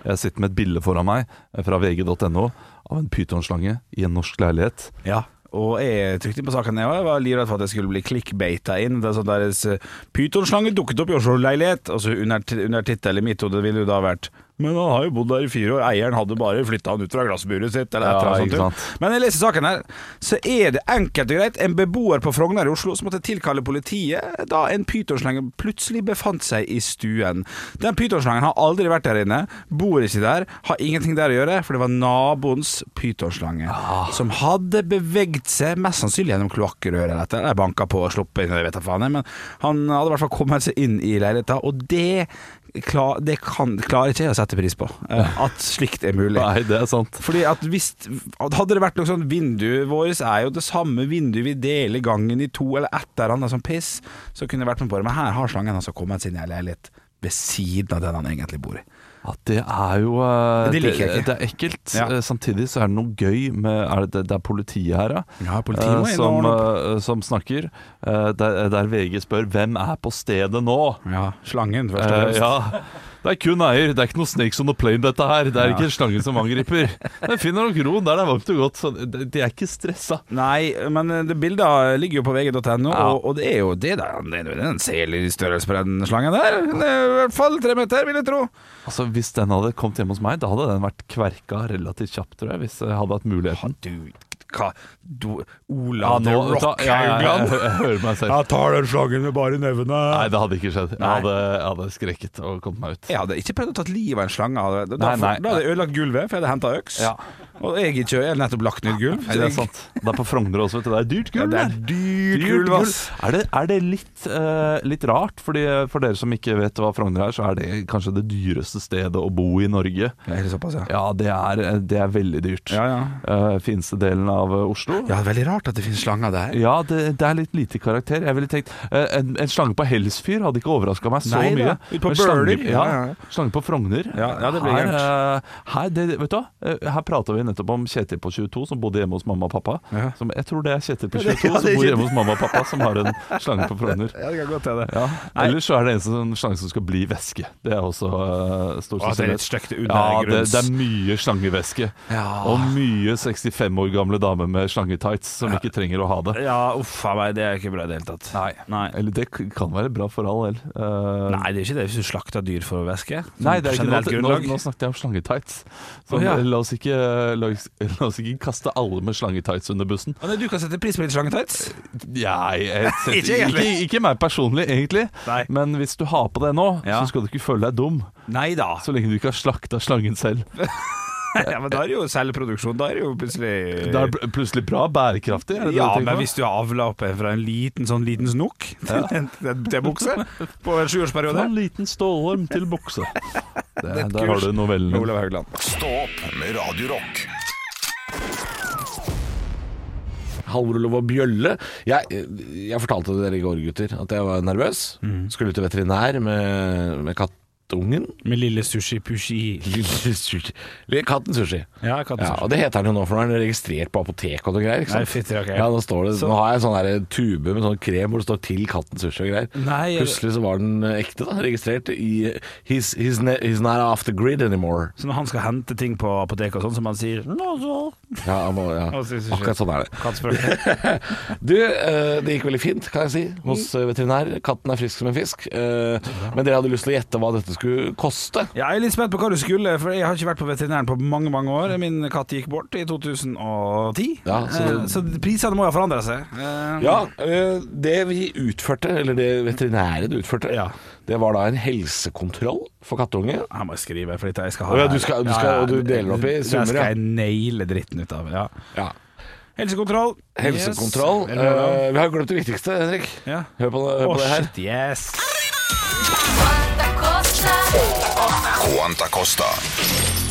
Jeg sitter med et bilde foran meg eh, fra vg.no av en pytonslange i en norsk leilighet. Ja. Og jeg trykte inn på saken jeg var. Jeg var livredd for at jeg skulle bli clickbata inn. Det er sånn deres eh, Pytonslange dukket opp i Oslo-leilighet, og så under, under tittelen i mitt hode ville det da vært Men han har jo bodd der i fire år, eieren hadde bare flytta han ut fra glassburet sitt, eller et Ja, eller annet ikke sånt. sant. Men jeg leser saken her, så er det enkelt og greit. En beboer på Frogner i Oslo som måtte tilkalle politiet da en pytonslange plutselig befant seg i stuen. Den pytonslangen har aldri vært der inne, bor ikke der, har ingenting der å gjøre, for det var naboens pytonslange som hadde beveget seg, mest sannsynlig gjennom kloakkrøret eller etter, eller banka på og sluppet inn, jeg vet da faen, jeg, men han hadde i hvert fall kommet seg inn i leiligheta, og det, klar, det kan, klarer ikke jeg å sette pris på, eh, at slikt er mulig. Nei, det er sant. Fordi at hvis at Hadde det vært noe sånn Vinduet vårt er jo det samme vinduet vi deler gangen i to, eller et eller annet sånn piss, så kunne det vært noe på det. Men her har slangen altså kommet sin leilighet. ved siden av den han egentlig bor i. At det er jo eh, Det liker jeg det, ikke. det er ekkelt. Ja. Eh, Samtidig så er det noe gøy med er det, det er politiet her, Ja, politiet må eh, inn og som, ordne eh, som snakker. eh, Der, der VG spør 'Hvem er på stedet nå?' Ja, Slangen, først og Eh, fremst. ja. Det er kun eier, det er ikke noe snakes on the plane dette her. Det er ikke en slange som angriper. Den finner nok roen der det er varmt og godt. Så de de er ikke stressa. Nei, men eh, det bildet ligger jo på vg.no, Ja. og, og det er jo det der, det er jo den selstørrelse på den slangen der. Den er I hvert fall tre meter, vil jeg tro. Altså, Hvis den hadde kommet hjemme hos meg, da hadde den vært kverka relativt kjapt, tror jeg. Hvis jeg hadde hatt muligheten. Du, hva du, Ja, Ola nå- The ta- Rock ja, ja, ja, Haugan. jeg, jeg hører meg selv. Jeg tar den slangen med bare nevene. Nei, det hadde ikke skjedd. Jeg Nei. hadde, jeg hadde skrekket og kommet meg ut. Jeg hadde ikke prøvd å ta livet av en slange. hadde- Da, Nei, nei. da hadde jeg ødelagt gulvet, for jeg hadde henta øks. Ja. Og jeg, er ikke, jeg har nettopp lagt nytt gulv. så Nei, det er jeg- sant. Det er på Frogner også, vet du. Det er dyrt Ja, gull. det er der. dyrt Dyrt gulv, gull. ass. Er det, er det litt, eh, litt rart? Fordi eh, For dere som ikke vet hva Frogner er, så er det kanskje det dyreste stedet å bo i Norge. Det er såpass, ja. Ja, det er, eh, det er veldig dyrt. Ja, ja. Eh, fineste delen av eh, Oslo. Ja, det er veldig rart at det finnes slanger der. Ja, det, det er litt lite karakter. Jeg ville tenkt eh, en, en slange på Helsfyr hadde ikke overraska meg så Nei da, mye. ut på Men slange- Bøler, Ja, ja, ja. Slange på Frogner. Ja, ja, det blir her, eh, her, det, vet du, hva? Eh, her prata vi nettopp om Kjetil på 22 som bodde hjemme hos mamma og pappa. Ja. Som, jeg tror det er Kjetil på Ja, det- 22 ja, det som er bor Kjetil. hjemme hos mamma og pappa, som har en slange på Frogner. Ja, det kan godt hende. Ja. Nei. Ellers så er det en sånn slange som skal bli væske. Det er også eh, stor Å, det er litt sannsynlighet. stygt Ja, det, undergrunns. det er mye slangevæske. Ja. Og mye 65 år gamle damer med slangetights som ikke trenger å ha det. Ja, uff a meg, det er ikke bra i det hele tatt. Nei. Nei. Eller det k- kan være bra for all del. Eh, det er ikke det hvis du slakter dyr for å væske. Sånn Nei, det er ikke generelt det. Nå, grunnlag. nå snakket jeg om slangetights. Så Å, ja. la, oss ikke, eh, la, oss, la oss ikke kaste alle med slangetights under bussen. Men du kan sette pris på litt slangetights. Jeg, jeg, setter- Ikke egentlig. ikke, ikke meg personlig, egentlig. Nei. Men hvis du har på det nå, Ja. så skal du ikke føle deg dum. Nei da. Så lenge du ikke har slakta slangen selv. Ja, men da er det jo selvproduksjon. Da er det jo plutselig Det er pl- plutselig bra bærekraftig. Er det Ja, det du tenker men på? hvis du har avla opp en fra en liten sånn liten snok til en, en T-bukse på en Fra sjuårsperiode en liten stålorm til bukse. Det, der kurs har du novellen. med din. Olav Haugland. Stå opp med Radio Rock. Halvor Olav og Bjølle. Jeg, jeg fortalte dere i går, gutter, at jeg var nervøs. Mm. Skulle til veterinær med, med kattungen. Med lille Sushi Pushi. Lille sushi. Lille Katten Sushi. Ja, katten Ja, sushi. og det heter han jo nå, for nå er han registrert på apotek og noe greier. Ikke sant? Nei, fitter, ok. Ja, nå, står det, Så- nå har jeg en sånn der tube med sånn krem hvor det står 'til katten sushi' og greier. Nei, jeg- Plutselig så var den eh, ekte, da. Registrert i eh, He's, he's, ne he's not off the grid anymore. Så når han skal hente ting på apoteket og sånn, som han sier «Nå så», Ja, han må, ja. Og sushi. Akkurat sånn er det. Kattspråket. Du, eh, det gikk veldig fint, kan jeg si, hos eh, veterinær. Katten er frisk som en fisk. Eh, Men dere hadde lyst til å gjette hva dette skulle koste. Ja, jeg er litt spent på hva du skulle, for jeg har ikke vært på veterinæren på mange mange år. Min katt gikk bort i 2010, Ja, så, så- Eh, så prisene må jo ha forandra seg. Eh, Ja, eh, det vi utførte, eller det veterinæren utførte, Ja. det var da en helsekontroll for kattunge. Her må jeg skrive, for dette jeg skal Å ha ja, du skal- du skal- og du deler opp i summer, Det ja. skal jeg naile dritten ut av. Ja. Ja. Helsekontroll. Helsekontroll. Yes. Eh, vi har glemt det viktigste, Henrik. Ja. Hør på, hør Å, på det her. shit, yes. Quanta Costa.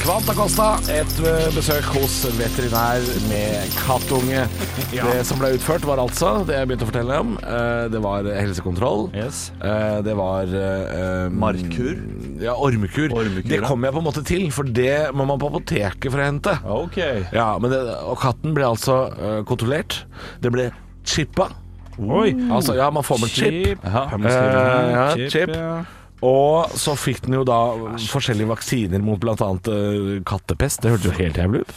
Kvanta Costa, et eh, besøk hos veterinær med kattunge. Det som ble utført, var altså det jeg begynte å fortelle om. eh, det var helsekontroll. Yes. Eh, det var eh, eh, Markkur? Ja, ormekur. Ormekur, det ja. kom jeg på en måte til, for det må man på apoteket for å hente. Ok. Ja, men det, Og katten ble altså eh, kontrollert. Det ble chippa. Oi. Altså, ja, man får med chip. Ja. Eh, ja, chip. ja. Og så fikk den jo da forskjellige vaksiner mot bl.a. Uh, kattepest. Det hørtes jo helt jævlig ut.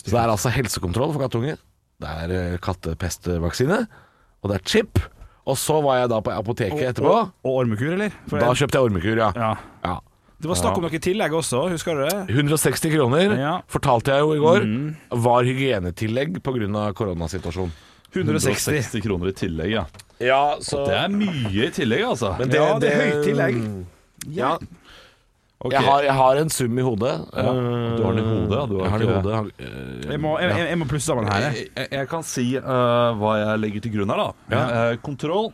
Så det er altså helsekontroll for kattunger. Det er eh, kattepestvaksine, og det er chip. Og så var jeg da på apoteket etterpå. Og ormekur, eller? For Da jeg- kjøpte jeg ormekur, ja. ja. ja. Det var snakk om noe tillegg også, husker du det? 160 kroner, Ja. Mm. fortalte jeg jo i går, var hygienetillegg pga. koronasituasjonen. 160. 160 kroner i tillegg, ja. Ja, så Det er mye i tillegg, altså. Men Ja, det er høyt tillegg. Ja. Ok. Jeg, har, jeg har en sum i hodet. Ja, du har den i hodet, ja. Du har jeg har den i ikke- hodet. Jeg må, jeg, jeg, jeg må plusse sammen her. jeg. Jeg, jeg- jeg kan si eh, hva jeg legger til grunn her, da. Eh, kontroll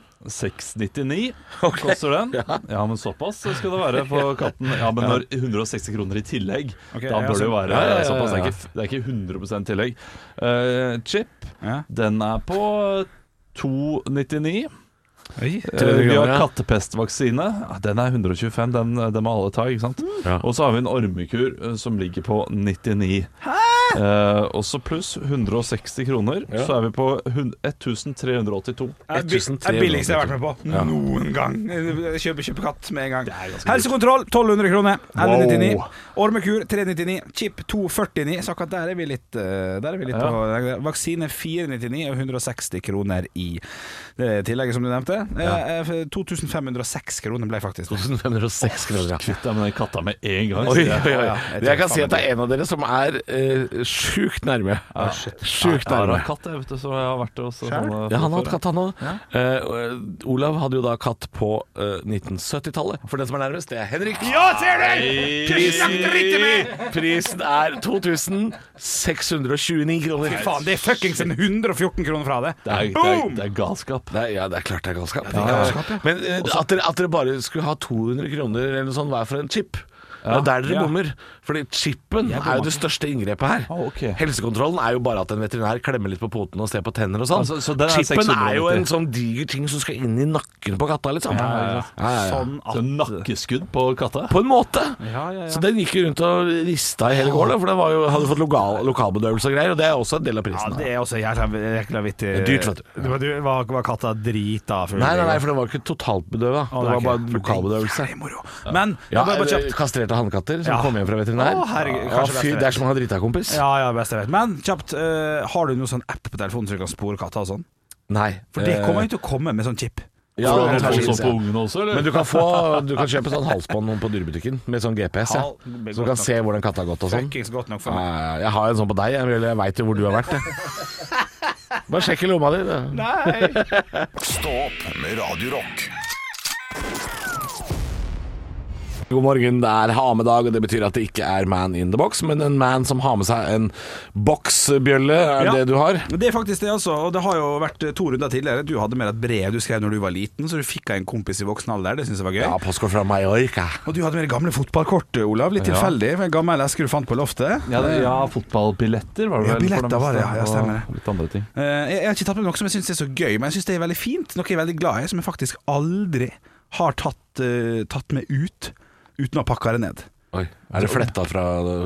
699 koster den. Ja. men såpass skal det være på katten. Ja, Men når 160 kroner i tillegg, Ok, da ja, bør det jo så- være Ja, ja, ja, såpass. Det ja. er ikke, det er ikke 100 tillegg. Eh, chip, Ja. den er på 299. Oi. du Eh, vi ganger, har ja? kattepestvaksine. Ja, Den er 125, den, den må alle ta. ikke sant? Mm. Ja. Og så har vi en ormekur eh, som ligger på 99. Eh, også pluss 160 kroner, Ja. så er vi på hun- 1382. Det er bi- det er 1300. billigste jeg har vært med på noen gang. Kjøpe, kjøpe katt med en gang. Helsekontroll 1200 kroner. 1199. Ormekur 399. Chip 249. Så akkurat der er vi litt, eh, der er vi litt Ja. på Vaksine 499 og 160 kroner i eh, tillegget, som du nevnte. Eh, eh, 2506 kroner ble faktisk. 2506 kroner. ja. Kvitt deg med den katta med en gang. Oi, sier jeg. oi, oi. Ja, Jeg jeg tror kan si faen at det er en av dere som er eh, sjukt nærme. Ah, Sjukt Jeg har nærme. en katt, jeg, vet du, så jeg har vært hos sånne Ja, han har folk hatt før, katt, han òg. eh, Olav hadde jo da katt på eh, 1970-tallet. For den som er nærmest, det er Henrik. Ja, ser du! Prisen, prisen er 2629 kroner. Faen, det er sånn fuckings en 114 kroner fra det! Eh, ja. Det er, det, er, det er galskap. Nei, ja, det er klart det er galskap. Men eh, at, dere, at dere bare skulle ha 200 kroner eller noe sånt hver for en chip det er der dere Ja. bommer. Fordi chipen er jo det største inngrepet her. Ah, ok. Helsekontrollen er jo bare at en veterinær klemmer litt på poten og ser på tenner og sånn. Altså, så den er chipen er 690. jo en sånn diger ting som skal inn i nakken på katta, liksom. Ja, ja, ja. Sånn at Så nakkeskudd på katta. På en måte. Ja, ja, ja. Så den gikk jo rundt og rista i hele gården, for den var jo, hadde fått lokal, lokalbedøvelse og greier, og det er også en del av ja, prisen. da. det er også jækla jækla vittig. Det er dyrt, vet du. Det var- du- Var, var katta drita? før? Nei, nei, nei, for den var ikke totalbedøva. Å, Det nei, var bare ok. lokalbedøvelse. Jævlig moro. Men Ja, jeg bare, bare kjapt. Kastrerte hannkatter som Ja. kom hjem fra veterinær. Å, herregud, Ja, kanskje fy, beste det er som å ha drita kompis. Ja, ja, best jeg vet. Men kjapt, eh, har du noen sånn app på telefonen som du kan spore katter og sånn? Nei. eh, For det kommer jo til å komme med sånn chip. ja, Får du antageligvis, noen så på ja. ungene også, eller? Men du kan, få, du kan kjøpe sånn halsbånd på dyrebutikken med sånn GPS, ja. Hal- så du kan se hvordan katta har gått og sånn. Fuckings godt nok for meg. Ja, Jeg har en sånn på deg, jeg, eller jeg veit jo hvor du har vært. Jeg. Bare sjekk i lomma di. det. Stå opp med Radio Rock. God morgen, det er hamedag, og det betyr at det ikke er man in the box, men en man som har med seg en boksbjølle, er Ja. det du har? Det er faktisk det, altså. Og det har jo vært to runder tidligere. Du hadde med deg et brev du skrev når du var liten, så du fikk av en kompis i voksen alder. Det syns jeg var gøy. Ja, postkort fra Mallorca. Og du hadde med deg gamle fotballkort, Olav. Litt tilfeldig, for en gammel eske du fant på loftet. Ja, det, ja, fotballbilletter var det Ja, vel. for billetter meste, var det, ja, ja, stemmer det. Og litt andre ting. Eh, Jeg, jeg har ikke tatt med noe som jeg syns er så gøy, men jeg syns det er veldig fint. Noe jeg er veldig glad i, som jeg faktisk aldri har tatt, eh, tatt med ut uten å ha pakka det ned. Oi, Er det fletta fra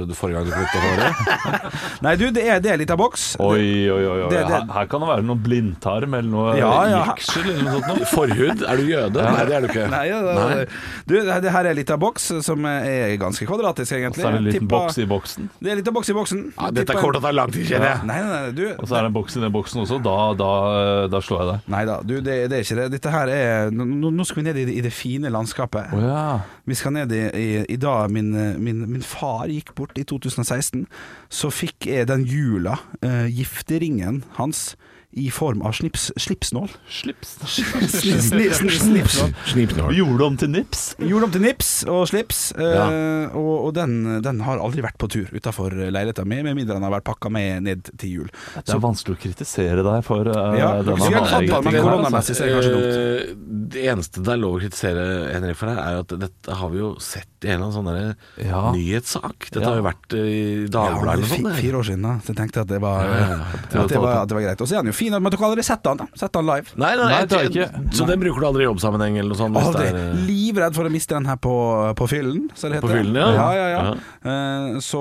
eh, forrige gang du flytta håret? Nei, du, det er, det er litt av boks. Oi, oi, oi. oi. Det- det- Her, her kan det være noen blindtarm eller noe Ja, ja. jeksel eller noe sånt. noe. Forhud? Er du jøde? Nei, det er du ikke. Nei, ja, det, Du, det, det her er litt av boks, som er ganske kvadratisk, egentlig. Så er det en Jeg liten tippa- boks i boksen. Det er litt av boks i boksen. Ja, dette kommer til å ta lang tid, kjenner jeg. Nei, nei, nei, Og du så er det en boks i den boksen også. Da, da, da slår jeg deg. Nei da, du, det, det er ikke det. Dette her er Nå, nå- nå skal vi ned i, det- i det fine landskapet. Å ja. Vi skal ned i, i, i dag min, min, min far gikk bort i 2016 Så fikk jeg den jula eh, Gifteringen hans I form av snips, slipsnål Slips. Sli- sli- sli- Slipsnål Snipnål. Vi gjorde det om til nips. Gjorde om til nips og slips eh, Og, og den, den har aldri vært på tur utenfor leiligheten min Med mindre den har vært pakka med ned til jul Det er vanskelig å kritisere deg for eh, Ja, du denne skulle ha tatt av meg her, korona, men- Koronamessig altså. så er det kanskje Eh, Det eneste det er lov å kritisere Henrik for her, er jo at dette har vi jo sett i en eller annen sånn derre Ja. nyhetssak. Dette Ja. har jo vært eh, i Dagbladet eller det noe sånt. fikk det. fire år siden da Så jeg tenkte at det var, ja. at det var, at det var greit Og så er han jo fin, men dere har aldri sett han da Sett han live Nei, nei, Nei, jeg- det har jeg ikke. Så den bruker du aldri i jobbsammenheng eller noe sånt? hvis Aldri. det er, eh, Livredd for å miste den her på, på fyllen, så det heter. På fyllen, ja. ja, ja, ja. Eh, så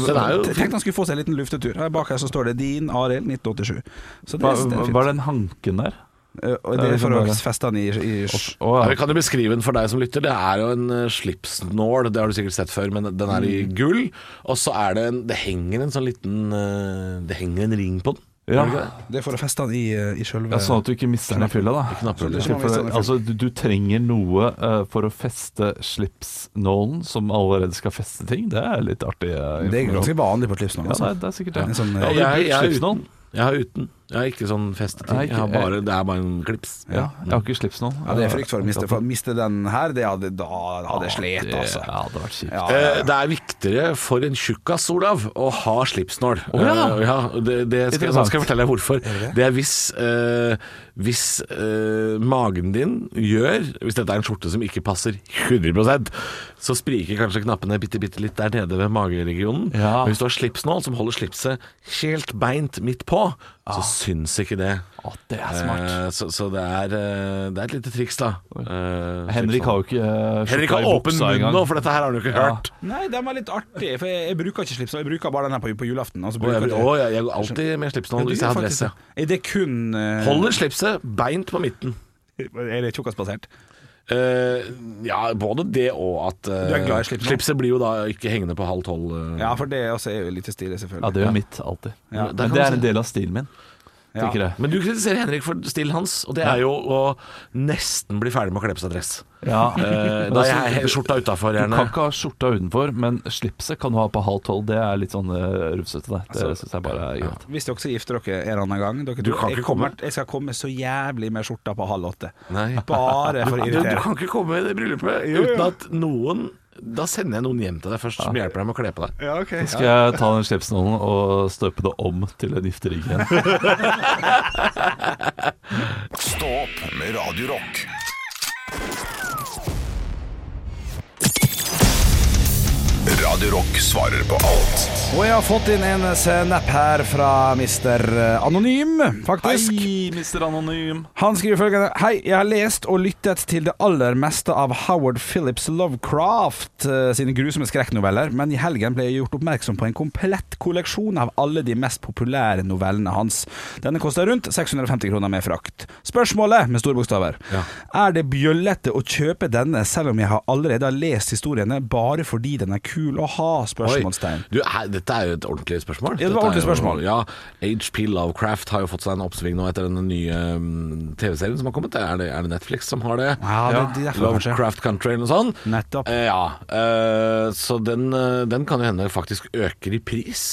Så den er jo- Tenk han skulle få seg en liten luftetur. Her bak her så står det 'Din Arild 1987'. Så det, Hva, det er hva fint. er den hanken der? Eh, og det er for å feste han i, i sj- Å, Ja, Vi ja. kan jo beskrive den for deg som lytter. Det er jo en eh, slipsnål, det har du sikkert sett før, men den er i gull. Og så er det en Det henger en sånn liten eh, Det henger en ring på den. Ja. Det er for å feste han i, eh, i sjølve ja, sånn at du ikke mister den i fylla, da. Knapphullet. Sånn For, det- altså, du, du trenger noe eh, for å feste slipsnålen som allerede skal feste ting. Det er litt artig. eh, Det er informasjon. ganske vanlig på et livsnål. ja, det, Altså. er, det er sikkert En det. sånn, Ja, eh, du har Jeg- jeg er brukt slipsnålen? Jeg har uten. Jeg har ikke sånn festeting. Nei, Jeg har ikke- bare, det er bare en klips. Ja, jeg har ikke slipsnålen. ja, det er frykt for å miste, for å miste den her. Det hadde, da hadde jeg slet, altså. Det hadde vært kjipt. Ja, Eh, Det er viktigere for en tjukkas, Olav, å ha slipsnål. ja. Eh, ja, det, det skal, Interessant. nå skal jeg fortelle deg hvorfor. Det er hvis, eh, hvis eh, magen din gjør Hvis dette er en skjorte som ikke passer 100 så spriker kanskje knappene bitte, bitte litt der nede ved mageregionen. Ja. Ah. Men hvis du har slipsnål som holder slipset helt beint midt på, så syns ikke det. Å, det er smart. Eh, så, så det er eh, Det er et lite triks, da. Eh, Henrik har jo ikke eh, Henrik har skjorta i åpen buksa munn engang. nå, for dette her har han jo ikke Ja. hørt. Nei, den var litt artig, for jeg, jeg bruker ikke slips. Jeg bruker bare den her på, på julaften. og så Og bruker jeg, jeg- å, jeg, jeg går alltid med Ja, slipsnål du hvis jeg har gjør faktisk dress. ja. det. Er det kun eh, Holder slipset beint på midten. Er det tjukkasbasert? Eh, ja, både det og at eh, Du er glad i slips nå? slipset blir jo da ikke hengende på halv tolv. eh. Ja, for det også er jo litt stilig, selvfølgelig. Ja, det gjør mitt alltid. Ja, der Men kan det du er se. en del av stilen min, Ja. tenker jeg. Men du kritiserer Henrik for stilen hans, og det er jo å nesten bli ferdig med å kle på seg dress. Ja. Eh, Men da altså, er jeg skjorta utafor, Du kan gjerne. ikke ha skjorta utenfor, men slipset kan du ha på halv tolv. Det er litt sånn eh, rufsete. Det, Altså, det syns jeg bare er greit. Hvis dere også gifter dere en eller annen gang dere, Du kan jeg ikke komme. kommer- Jeg skal komme så jævlig med skjorta på halv åtte. Nei. Bare for å Du, du irritere. kan ikke komme i det bryllupet uten at noen Da sender jeg noen hjem til deg først som hjelper deg med å kle på deg. Ja, ok. Skal jeg ta den slipsnålen og støpe det om til en giftering igjen? Stå opp med Radio Rock. Radio Rock svarer på alt. Og jeg har fått inn en snap her fra mister eh, Anonym, faktisk. mister Anonym. Han skriver følgende Hei, jeg har lest og lyttet til det aller meste av Howard Phillips Lovecraft eh, sine grusomme skrekknoveller, men i helgen ble jeg gjort oppmerksom på en komplett kolleksjon av alle de mest populære novellene hans. Denne koster rundt 650 kroner med frakt. Spørsmålet, med store bokstaver, er det bjøllete å kjøpe denne selv om jeg har allerede har lest historiene bare fordi den er kul å ha? Spørsmålstegn. Du, her, dette er jo et ordentlig spørsmål. Ja, det Dette var er ordentlig jo- spørsmål. Ja, HP Lovecraft har jo fått seg en oppsving nå etter den nye um, TV-serien som har kommet. Er det, er det Netflix som har det? Ja, det- det er derfor kanskje. Lovecraft Country eller noe sånt. Nettopp. Eh, ja, eh, så den, eh, den kan jo hende faktisk øker i pris.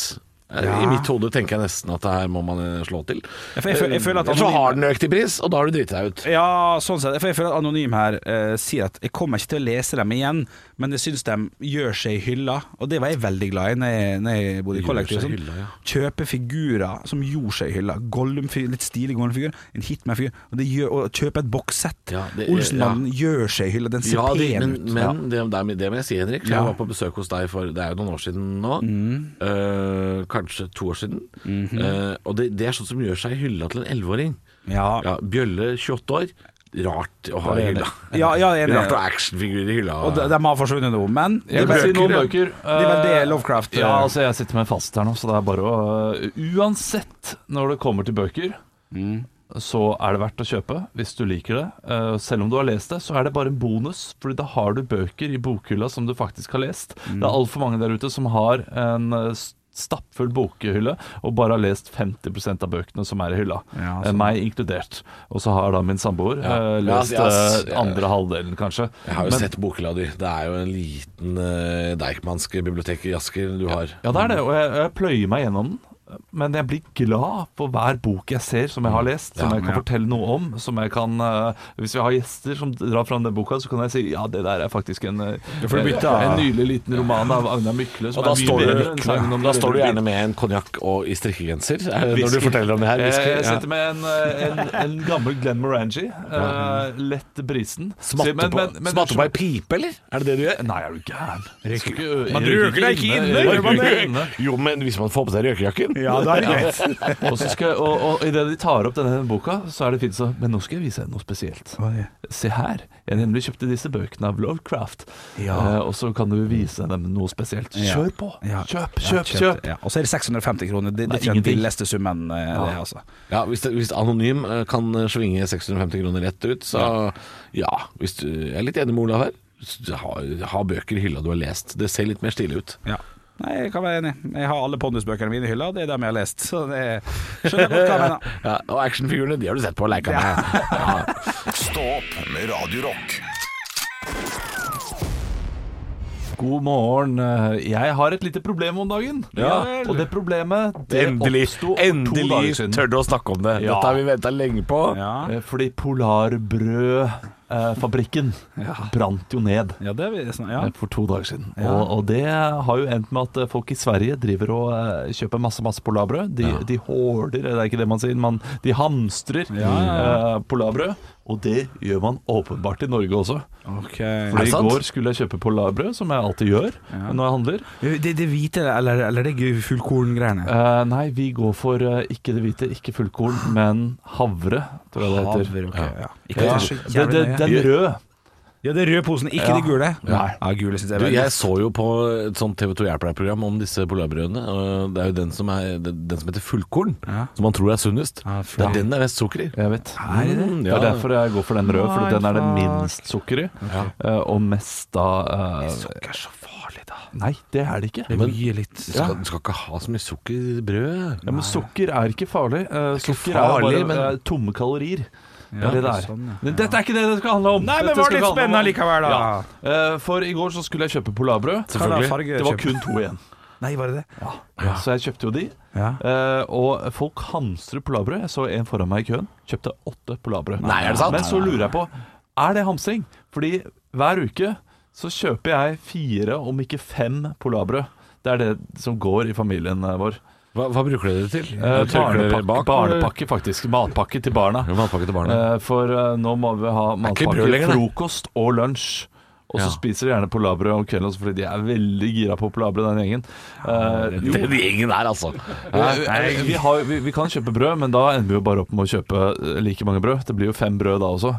Eh, Ja. I mitt hode tenker jeg nesten at det her må man eh, slå til. Ja, for jeg fø- jeg føler at Eh, så anonyme- har den økt i pris, og da har du driti deg ut. Ja, sånn sett. For jeg føler at Anonym her eh, sier at jeg kommer ikke til å lese dem igjen, men jeg syns de gjør seg i hylla, og det var jeg veldig glad i når jeg, når jeg bodde i Gjør kollektiv. seg i Sånn. hylla, ja. Kjøpe figurer som gjorde seg i hylla. Gollum-figur, litt stilig Gollum-figur, en Hitman-figur. Og, det gjør- og kjøpe et bokssett. Ja, det- Olsenmannen gjør seg i hylla, den ser Ja, de, pen men, ut. Ja. men det, det, er- det må jeg si, Henrik. for Ja. Jeg var på besøk hos deg for det er jo noen år siden nå. Eh, kanskje to år siden. Eh, og det, det er sånt som gjør seg i hylla til en elleveåring. Ja. Ja, Bjølle 28 år. Rart å ha i hylla. Ja, ja, jeg er enig. Rart å ha actionfigurer i hylla. Og de, de har forsvunnet nå, men Jeg det kan si bøker, noen ja. bøker. Det er vel det Lovecraft, eh. Ja, altså Jeg sitter med en fasit her nå, så det er bare å eh, Uansett når det kommer til bøker, Mm. så er det verdt å kjøpe hvis du liker det. Eh, selv om du har lest det, så er det bare en bonus, Fordi da har du bøker i bokhylla som du faktisk har lest. Mm. Det er altfor mange der ute som har en eh, s- stappfull bokhylle og bare har lest 50 av bøkene som er i hylla. Ja, Eh, sånn. Meg inkludert. Og så har da min samboer eh, Ja, lest ass, altså, eh, jeg- andre halvdelen, kanskje. jeg har jo Men- sett bokhylla di. Det er jo en liten eh, Deichmanske bibliotek i Asker du har. Ja, det er det, og jeg, jeg pløyer meg gjennom den. Men jeg blir glad for hver bok jeg ser som Mm. jeg har lest, som Ja, jeg kan ja. fortelle noe om. Som jeg kan, eh, Hvis vi har gjester som drar fram den boka, så kan jeg si ja, det der er faktisk en, eh, får du bytte av. en nylig liten roman av Agnar Mykle. som Og da er mye står, bedre du, enn sangen om da den står du røde gjerne bilen. med en konjakk og i strikkegenser eh, når du Whisky. forteller om det her. Eh, Whisky, Jeg ja. setter med en, eh, en, en gammel Glenn Morangi. eh, lett brisen. Smatte på- Smatte på ei pipe, eller? Er det det du gjør? Nei, er du gæren? Man røker deg ikke inne, Man gjør man røker det? ikke inne. Jo, men hvis man får på seg røkejakken Ja, da er det greit. Og, så skal, og, og i det de tar opp denne boka, så er det fint sånn Men nå skal jeg vise deg noe spesielt. Oi. Se her, jeg nemlig kjøpte disse bøkene av Lovecraft. Eh, og så kan du vise dem noe spesielt. Ja. Kjør på! Ja. Kjøp, Ja, kjøp, kjøp! Ja. Og så er det 650 kroner. Det, det Nei, er ikke den ingenting. villeste summen, eh, det, altså. Ja, hvis, det, hvis Anonym eh, kan svinge 650 kroner rett ut, så ja, hvis du, jeg er litt enig med Olav her. S- Ha, ha bøker i hylla du har lest. Det ser litt mer stilig ut. Ja. Nei, jeg kan være enig. Jeg har alle Pondus-bøkene mine i hylla, og det er dem jeg har lest. Så det skjønner jeg godt hva jeg mener. Ja, og actionfigurene, de har du sett på leika med. Ja. Stå opp med Radio Rock. God morgen. Eh, Jeg har et lite problem om dagen. Ja. Og det problemet det Endelig, oppsto for to dager endelig siden. Eh, tør du å snakke om det. Ja. Dette har vi venta lenge på. Ja. Eh, Fordi polarbrød eh, fabrikken brant jo ned Ja, det er vi sånn, ja. eh, for to dager siden. Og, og det har jo endt med at eh, folk i Sverige driver og eh, kjøper masse masse polarbrød. De, de hårder, det er ikke det man sier, man, de hamstrer eh, polarbrød. Og det gjør man åpenbart i Norge også. Ok. For det i sant? går skulle jeg kjøpe polarbrød, som jeg alltid gjør når jeg handler. Det, det hvite, eller, eller det fullkorngreiene? Eh, nei, vi går for eh, ikke det hvite, ikke fullkorn, men havre, tror jeg det heter. Havre, ok, ja. Ikke det Ja, er så det, jævlig det, nøye. den røde. Ja, det er røde posen, ikke Ja. de gule. Nei. Ja, gule synes jeg Du, er veldig jeg så jo på et sånt TV 2 Hjelper-program om disse polarbrødene. og Det er jo den som, er, den den som heter fullkorn, Ja. som man tror er sunnest. Ja, det er den det er mest sukker i. Jeg vet. det? Mm, Det Ja. er derfor jeg går for den røde, for den er det Nei, fuck. minst sukker i. eh, Og mest da eh, Sukker er så farlig, da. Nei, det er det ikke. Det Men, gir litt Du skal, du skal ikke ha så mye sukker i brød. ja, men sukker er ikke farlig. Eh, Sukker er farlig, bare men- eh, tomme kalorier. Det Ja, er det det er. sånn, ja. Men Dette er ikke det det skal handle om. Nei, men Dette var skal litt ikke handle om- spennende likevel, da. Ja. Eh, For i går så skulle jeg kjøpe polarbrød. Hva da, Selvfølgelig. farge Det var kjøper- kun to igjen. Nei, var det det? Ja. Så jeg kjøpte jo de. Ja. Eh, og folk hamstrer polarbrød. Jeg så en foran meg i køen. Kjøpte åtte polarbrød. Nei, er det sant? Men så lurer jeg på er det hamstring. Fordi hver uke så kjøper jeg fire, om ikke fem, polarbrød. Det er det som går i familien eh, vår. Hva, hva bruker dere det til? Eh, Tørker dere barnepakke, bak, barnepakke, faktisk. Matpakke til barna. eller? Jo, Matpakke til barna. Eh, for eh, nå må vi ha ikke brød matpakke, lenger, nei. frokost og lunsj. Og så Ja. spiser de gjerne polarbrød om kvelden også, fordi de er veldig gira på polarbrød, den gjengen. Eh, jo, Den gjengen der, altså. Eh, eh, Vi, har, vi, vi kan kjøpe brød, men da ender vi jo bare opp med å kjøpe eh, like mange brød. Det blir jo fem brød da også.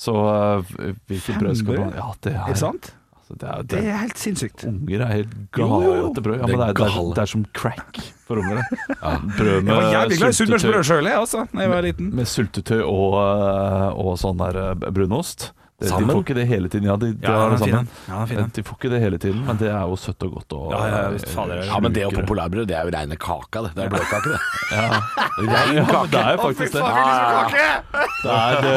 Så eh, hvilket Fem brød skal brød? man Ja, det er, Er det sant? Altså, det er, Det det er er helt sinnssykt. Unger er helt Jo, jo, gale jo. etter brød. Ja, Det er men det er, det, er, gale. det er som crack for unger. det. Brød Jeg var jævlig glad i sunnmørsbrød sultetøy, sjøl, jeg, altså, da jeg var liten. med sultetøy og, eh, og sånn der eh, brunost. Det- De Sammen? får ikke det hele tiden. Ja, de, de Ja, har det den er fin, sammen. Eh, den. Ja, den er fin, den. de får ikke det hele tiden, men det er jo søtt og godt. Og, Ja, ja, ja, visst, fader, det er Ja, men det og populærbrev, det er jo reine kaka, det. Det er bløtkake, det. Ja, det er jo faktisk det. Det er, det,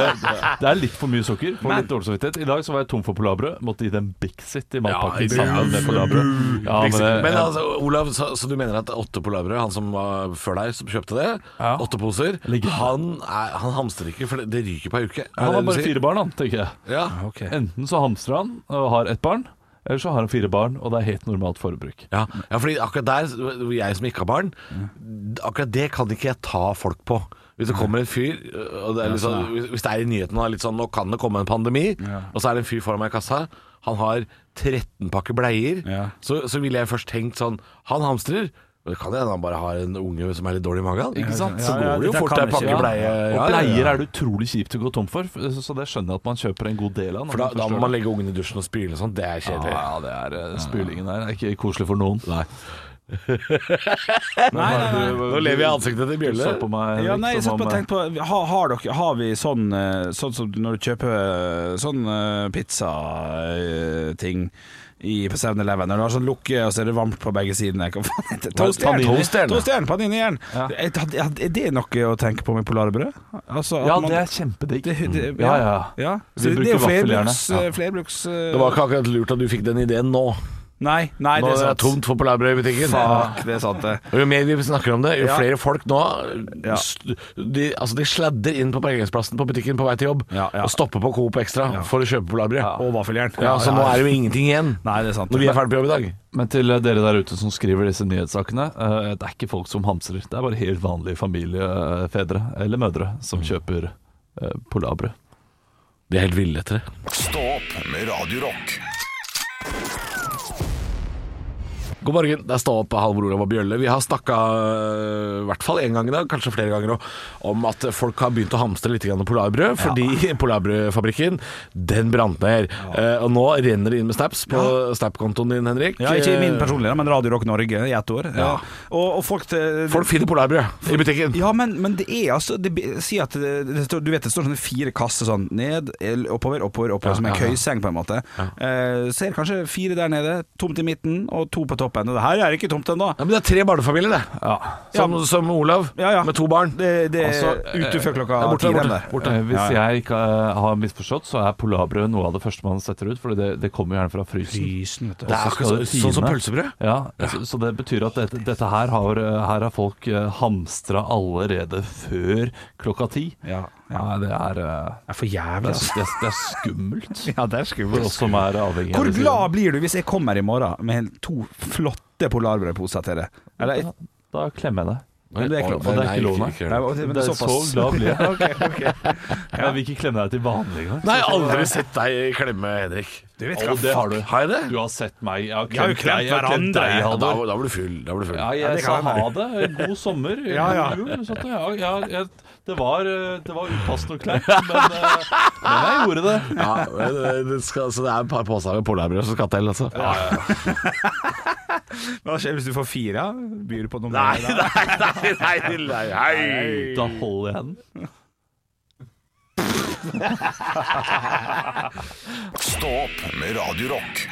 det er litt for mye sukker. Får litt dårlig samvittighet. I dag så var jeg tom for polarbrød. Måtte gi dem Bixit i matpakken Ja, sammen med polarbrød. Ja, men, eh, det- Men altså, Olav, så, så du mener at åtte polarbrød, han som var før deg, som kjøpte det, Ja. åtte poser, Legende. han, er, han hamstrer ikke, for det, det ryker på ei uke. Er det han har det du bare sier? fire barn, han, tenker jeg. Ja. Enten så hamstrer han og har ett barn, eller så har han fire barn, og det er helt normalt forbruk. Ja. ja, fordi akkurat der, hvor jeg som ikke har barn, akkurat det kan ikke jeg ta folk på. Hvis det kommer en fyr, og det er litt sånn, hvis- hvis det er i nyheten og det er litt sånn, nå kan det komme en pandemi, og så er det en fyr foran meg i kassa, han har 13 pakker bleier, Ja. så, så ville jeg først tenkt sånn, han hamstrer, men det kan hende han bare har en unge som er litt dårlig i magen, ikke sant? Så Ja, ja, går det jo dette fort kan en ikke- pakke ja. bleie. Og Ja, ja, ja. bleier er det utrolig kjipt å gå tom for, så det skjønner jeg at man kjøper en god del av. når For da, da må forstår man det. legge ungen i dusjen og spyle og sånn, det er kjedelig. ja, det er eh, spylingen der. Det er ikke koselig for noen. Nei, Nå lever jeg i ansiktet til Bjølle. på meg, liksom Ja, nei, jeg som satt bare og om, eh, tenkte på har, har, dere, har vi sånn eh, Sånn som når du kjøper eh, sånn pizza-ting på 7-Eleven Når du har sånn lukke, og så er det varmt på begge sidene Hva faen heter det? Toastjern! Panini. Toastjern, Toastjern, paninijern! Er, er- er det noe å tenke på med polarbrød? Altså, at Ja, man- det er kjempedigg. Mm. det- Mm. det- Ja, ja. ja. Vi Så det, er jo bruker vaffeljern, flerbruks, ja. eh, flerbruks eh, Det var ikke akkurat lurt at du fikk den ideen nå. Nei, nei, Nå det er er det sant. tomt for polarbrød i butikken. Fuck, det er sant, det. Og jo mer vi snakker om det, jo Ja. flere folk nå Ja. st- de, altså de sladder inn på parkeringsplassen på butikken på vei til jobb Ja, ja. og stopper på Coop Extra for å kjøpe polarbrød. Ja. Og vaffeljern. så nå er det jo ingenting igjen Nei, det er sant. når vi er ferdig på jobb i dag. Men til dere der ute som skriver disse nyhetssakene, eh, det er ikke folk som hamstrer. Det er bare helt vanlige familiefedre eller mødre som Mm. kjøper eh, polarbrød. De er helt ville etter det. Stå opp med Radio Rock. God morgen, det er Stå opp Halvor Olav og Bjølle. Vi har snakka øh, i hvert fall én gang i dag, kanskje flere ganger òg, om at folk har begynt å hamstre litt grann polarbrød, fordi polarbrødfabrikken den brant ned. Eh, og nå renner det inn med snaps på Snap-kontoen din, Henrik. Ja, ikke min Eh, personlige, da, men Radio Rock Norge i ett år. Ja. Og, og folk, til- Folk finner polarbrød i butikken. ja, men, men det er altså det, be- Si at det, det står, Du vet det står sånne fire kasser sånn ned, el- oppover, oppover, oppover, som en ja, ja. køyseng, på en måte. Eh, så er det kanskje fire der nede, tomt i midten og to på slapp av ennå. Det her er ikke tomt ennå. Ja, men det er tre barnefamilier, det. Som, som Olav, Ja, ja. med to barn. eh, Det, det Altså, er ute før klokka Det er borte, ti. det er den borte, der. borte. Eh, Hvis Ja, ja. jeg ikke eh, har misforstått, så er polarbrød noe av det første man setter ut. For det, det kommer gjerne fra frysen. Lysen, vet du. Det er Akkurat skal det så- sånn som tine. pølsebrød. Ja, Så, så det betyr at dette, dette her har eh, Her har folk eh, hamstra allerede før klokka ti. Ja, ja. Nei, det er, eh, Det er for jævlig, det er, altså. det er, det er skummelt. Ja, det er For oss som er avhengig Hvor disse- glad blir du hvis jeg kommer i morgen med en- to flotte polarbrødposer til deg? Eller, Ja, Da klemmer jeg deg. Men det er klart, og det er ikke lov, nei. Nei, men Det er så såpass. glad blir jeg. Ok, ok. Jeg vil ikke klemme deg til vanlig engang. Nei, jeg har aldri sett deg klemme Henrik. Du vet Og hva det har du. Har jeg det? Du har sett meg. Jeg har har jo klemt deg. Jeg har klemt klemt hverandre. deg, Ja, da, Halvor. da blir du full. Da blir du full. Ja, Ja, jeg det sa kan ha jeg det. God sommer. Ja, ja. God jul. sånn at jeg- ja, jeg, det var, eh, det var upassende og kleint, men, eh, men jeg gjorde det. Ja, men eh, det- det skal, så det er et par poser med polarbrød som skal til, altså. Hva skjer hvis du får fire? Byr du på noe Nei, mer? da? nei, nei, nei, nei, hei. Da holder jeg den. Stå opp med Radio Rock.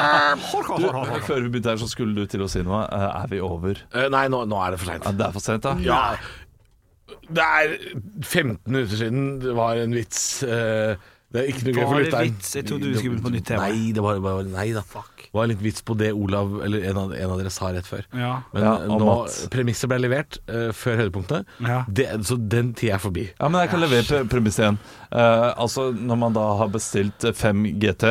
Du, før vi begynte her, så skulle du til å si noe. Eh, Er vi over? Eh, Nei, nå, nå er det for Ja, seint. det er for sent, da. Ja. Det er 15 minutter siden det var en vits. eh, Det er ikke noe gøy for Var det lytteren. vits? Jeg trodde du skulle begynne på nytt tema. Nei, det var, var, nei da. Det var en litt vits på det Olav, eller en av, en av dere, sa rett før. Ja. Men Ja, og nå, Mats. premisset ble levert eh, før høydepunktet, Ja. det, så den tida er forbi. Ja, men jeg kan levere pre- premiss igjen. Eh, altså, når man da har bestilt eh, 5 GT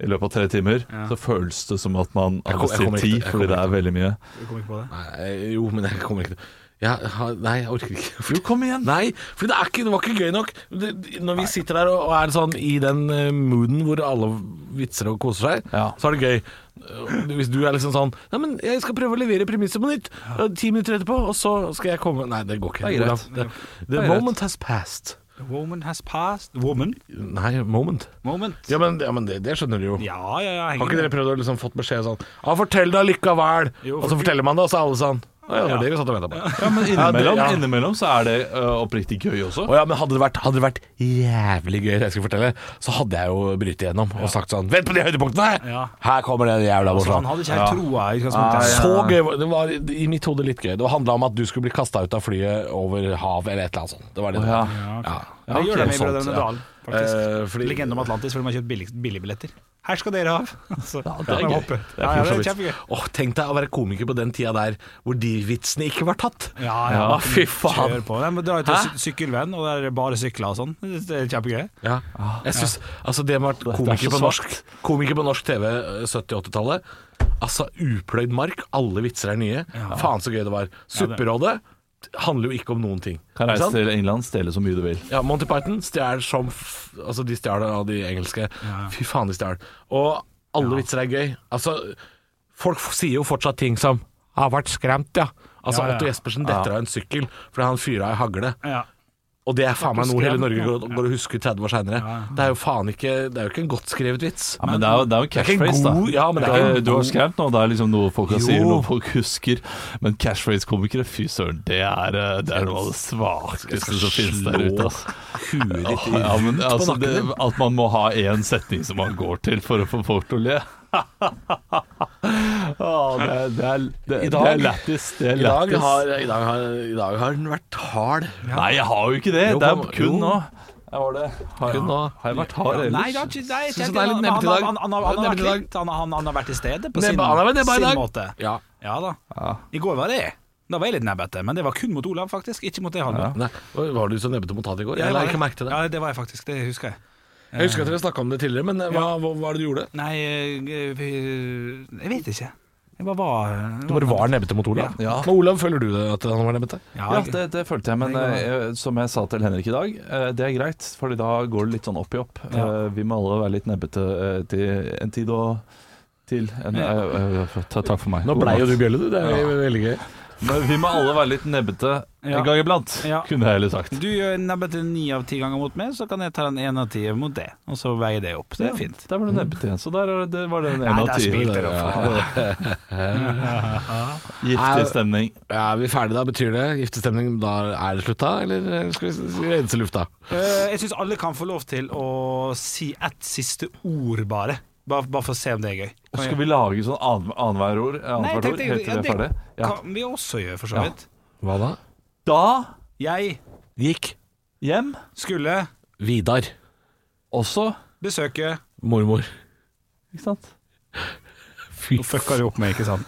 i løpet av tre timer, så føles det som at man Jeg kom- har jeg bestilt kommer ikke 10, til- jeg fordi det kommer er veldig mye. Du kom ikke på det? Nei, eh, jo, men jeg kommer ikke til jeg, har- Nei, jeg orker ikke. Jo, kom igjen! Nei, for det, er ikke, det var ikke gøy nok. Det, det- når vi sitter der og, og er sånn i den eh, mooden hvor alle vitser og koser seg, Ja. så er det gøy. Eh, Hvis du er liksom sånn Nei, men jeg skal prøve å levere premisset på nytt eh, ti minutter etterpå, og så skal jeg komme Nei, det går ikke. Det er greit. Olav. Det- Det The er greit. moment has passed. The woman has passed. Woman? Nei, moment. Moment? Ja, men, ja, men det, det skjønner du jo. ja, ja. ja, Har henger ikke dere med. prøvd å liksom fått beskjed sånn Ja, fortell det allikevel! Jo, og så for- forteller man det, og så er alle sånn Å ja, det var det vi satt og venta på. Ja, men innimellom, Ja, det- ja. innimellom så er det øh, oppriktig gøy også. Å ja, men hadde det, vært, hadde det vært jævlig gøy, det jeg skulle fortelle, så hadde jeg jo brytt igjennom og sagt sånn Vent på de høydepunktene! Ja. Her kommer den jævla Så han morsomme. hadde ikke helt troa i utgangspunktet. Så gøy var- Det var i mitt hode litt gøy. Det handla om at du skulle bli kasta ut av flyet over havet eller et eller annet sånt. Det var det. det Ja. var. Ja. Det gjør de ok. i Brødrene Sånt, ja. Dal, faktisk. Eh, fordi- Legenden om Atlantis, hvor de har kjøpt billig, billigbilletter. Her skal dere av! Så, ja, det er gøy. Ja, Det ja, det er kjempegøy. Åh, Tenk deg å være komiker på den tida der hvor de vitsene ikke var tatt. Ja, ja. Å, fy faen. Kjør på. Nei, men dra ut til sy- sykkelvenn, og der er det bare sykler og sånn. Det er kjempegøy. Ja. Jeg synes, altså det med å være Det er komiker så på norsk Komiker på norsk TV eh, 70-80-tallet. Altså upløyd mark. Alle vitser er nye. Faen så gøy det var. Supperådet handler jo ikke om noen ting. Kan Ikke reise sant? til England, stjele så mye du vil. Ja, Monty Python stjal som f Altså, de stjal av de engelske. Fy faen, de stjal. Og alle vitser er gøy. Altså, folk f- sier jo fortsatt ting som 'Har vært skremt', ja. Altså, Ja, ja. Otto Jespersen detter av en sykkel fordi han fyra ei hagle. Ja. Og det er faen meg noe hele skremt, Norge ja. går, går og husker 30 år seinere. Det er jo faen ikke Det er jo ikke en godt skrevet vits. Ja, men det er jo, det er jo en Det er ikke en catchphrase, da. god- ja, men det er ikke en Eh, du har god- skremt nå, det er liksom noe folk kan si, Jo. noe folk husker. Men catchphrase-komikere, fy søren, det er, eh, det er noe av det svakeste som finnes der ute. altså. ass. Huet ditt i Ja, men altså, nakken det, at man må ha én setning som man går til for å få folk til å le. Ah, det, er- det er, det, I det dag- er lættis. Det er I dag, lættis. har, i, dag har, I dag har den vært hard. Nei, jeg har jo ikke det. Jo, det kom- er kun jo. nå. Jeg var det. Har, Kun nå. har jeg vært hard ellers? Nei, det er ikke, nei, jeg Synes tenker det er litt han- nebbete i dag. han- Han Det er han- han har vært nebbete i dag. litt- han- han- han har vært til stede på Nebbe- sin, han har vært nebbe i sin dag. måte. Ja. Ja da. I går var det Da var jeg litt nebbete, men det var kun mot Olav, faktisk. Ikke mot det Halvor. Nei, var du så nebbete mot han i går? Jeg la ikke merke til det. Ja, det var jeg faktisk. Det husker jeg. Jeg husker at dere snakka om det tidligere, men eh, hva, hva, hva er det du gjorde? Nei, eh, vi- jeg vet ikke. Jeg bare var Du bare var nebbete mot Olav? Ja. Men Olav, føler du det at han var nebbete? Ja, Ja, det, det følte jeg, men Det går eh, som jeg sa til Henrik i dag, eh, det er greit, Fordi da går det litt sånn opp i opp. Ja. Eh, Vi må alle være litt nebbete eh, til en tid og til en, eh, eh, ta- Takk for meg. Nå God blei jo du natt. bjelle, du. Det er veldig gøy. Men vi må alle være litt nebbete Ja. en gang iblant, Ja. kunne jeg heller sagt. Du gjør nebbete ni av ti ganger mot meg, så kan jeg ta den ene av ti mot det. Og så veier det opp. Det er fint. Der var det nebbete igjen, så der er det- det var det en av der ti. spilte det Giftig stemning. Ja, Er vi ferdige da? Betyr det giftestemning? Da er det slutt, da? Eller skal vi rense lufta? Eh, jeg syns alle kan få lov til å si ett siste ord, bare. Bare, bare for å se om det er gøy. Og skal vi lage sånn annen- annenhver ord, annethvert ord helt til vi er ferdig? Ja. kan vi også gjøre, for så vidt. Hva da? Da Jeg Gikk hjem skulle Vidar, også, besøke mormor. ikke sant? Fy Fucka du opp med, ikke sant?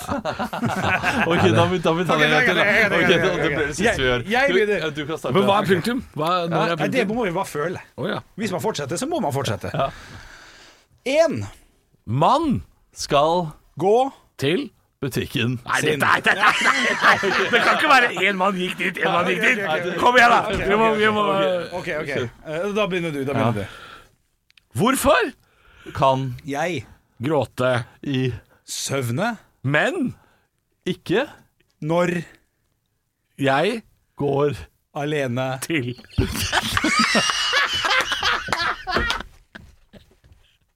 Ok, da må vi da må vi ta det en gang til. da. Ok, det det blir det siste vi gjør. Jeg- jeg Du, begynner. ja, du kan starte. Men hva er punktum? Hva, når er Nei, det punktum? må vi bare føle. Å ja. Hvis man fortsetter, så må man fortsette. Én Mann Skal gå til butikken Nei, det, nei, nei, nei, nei. det kan ikke være én mann gikk dit, én mann gikk dit. Kom igjen, da! Vi må, vi må. OK, OK. Eh, Da begynner du. Da begynner du. Hvorfor kan Jeg gråte i søvne Men ikke når jeg går alene til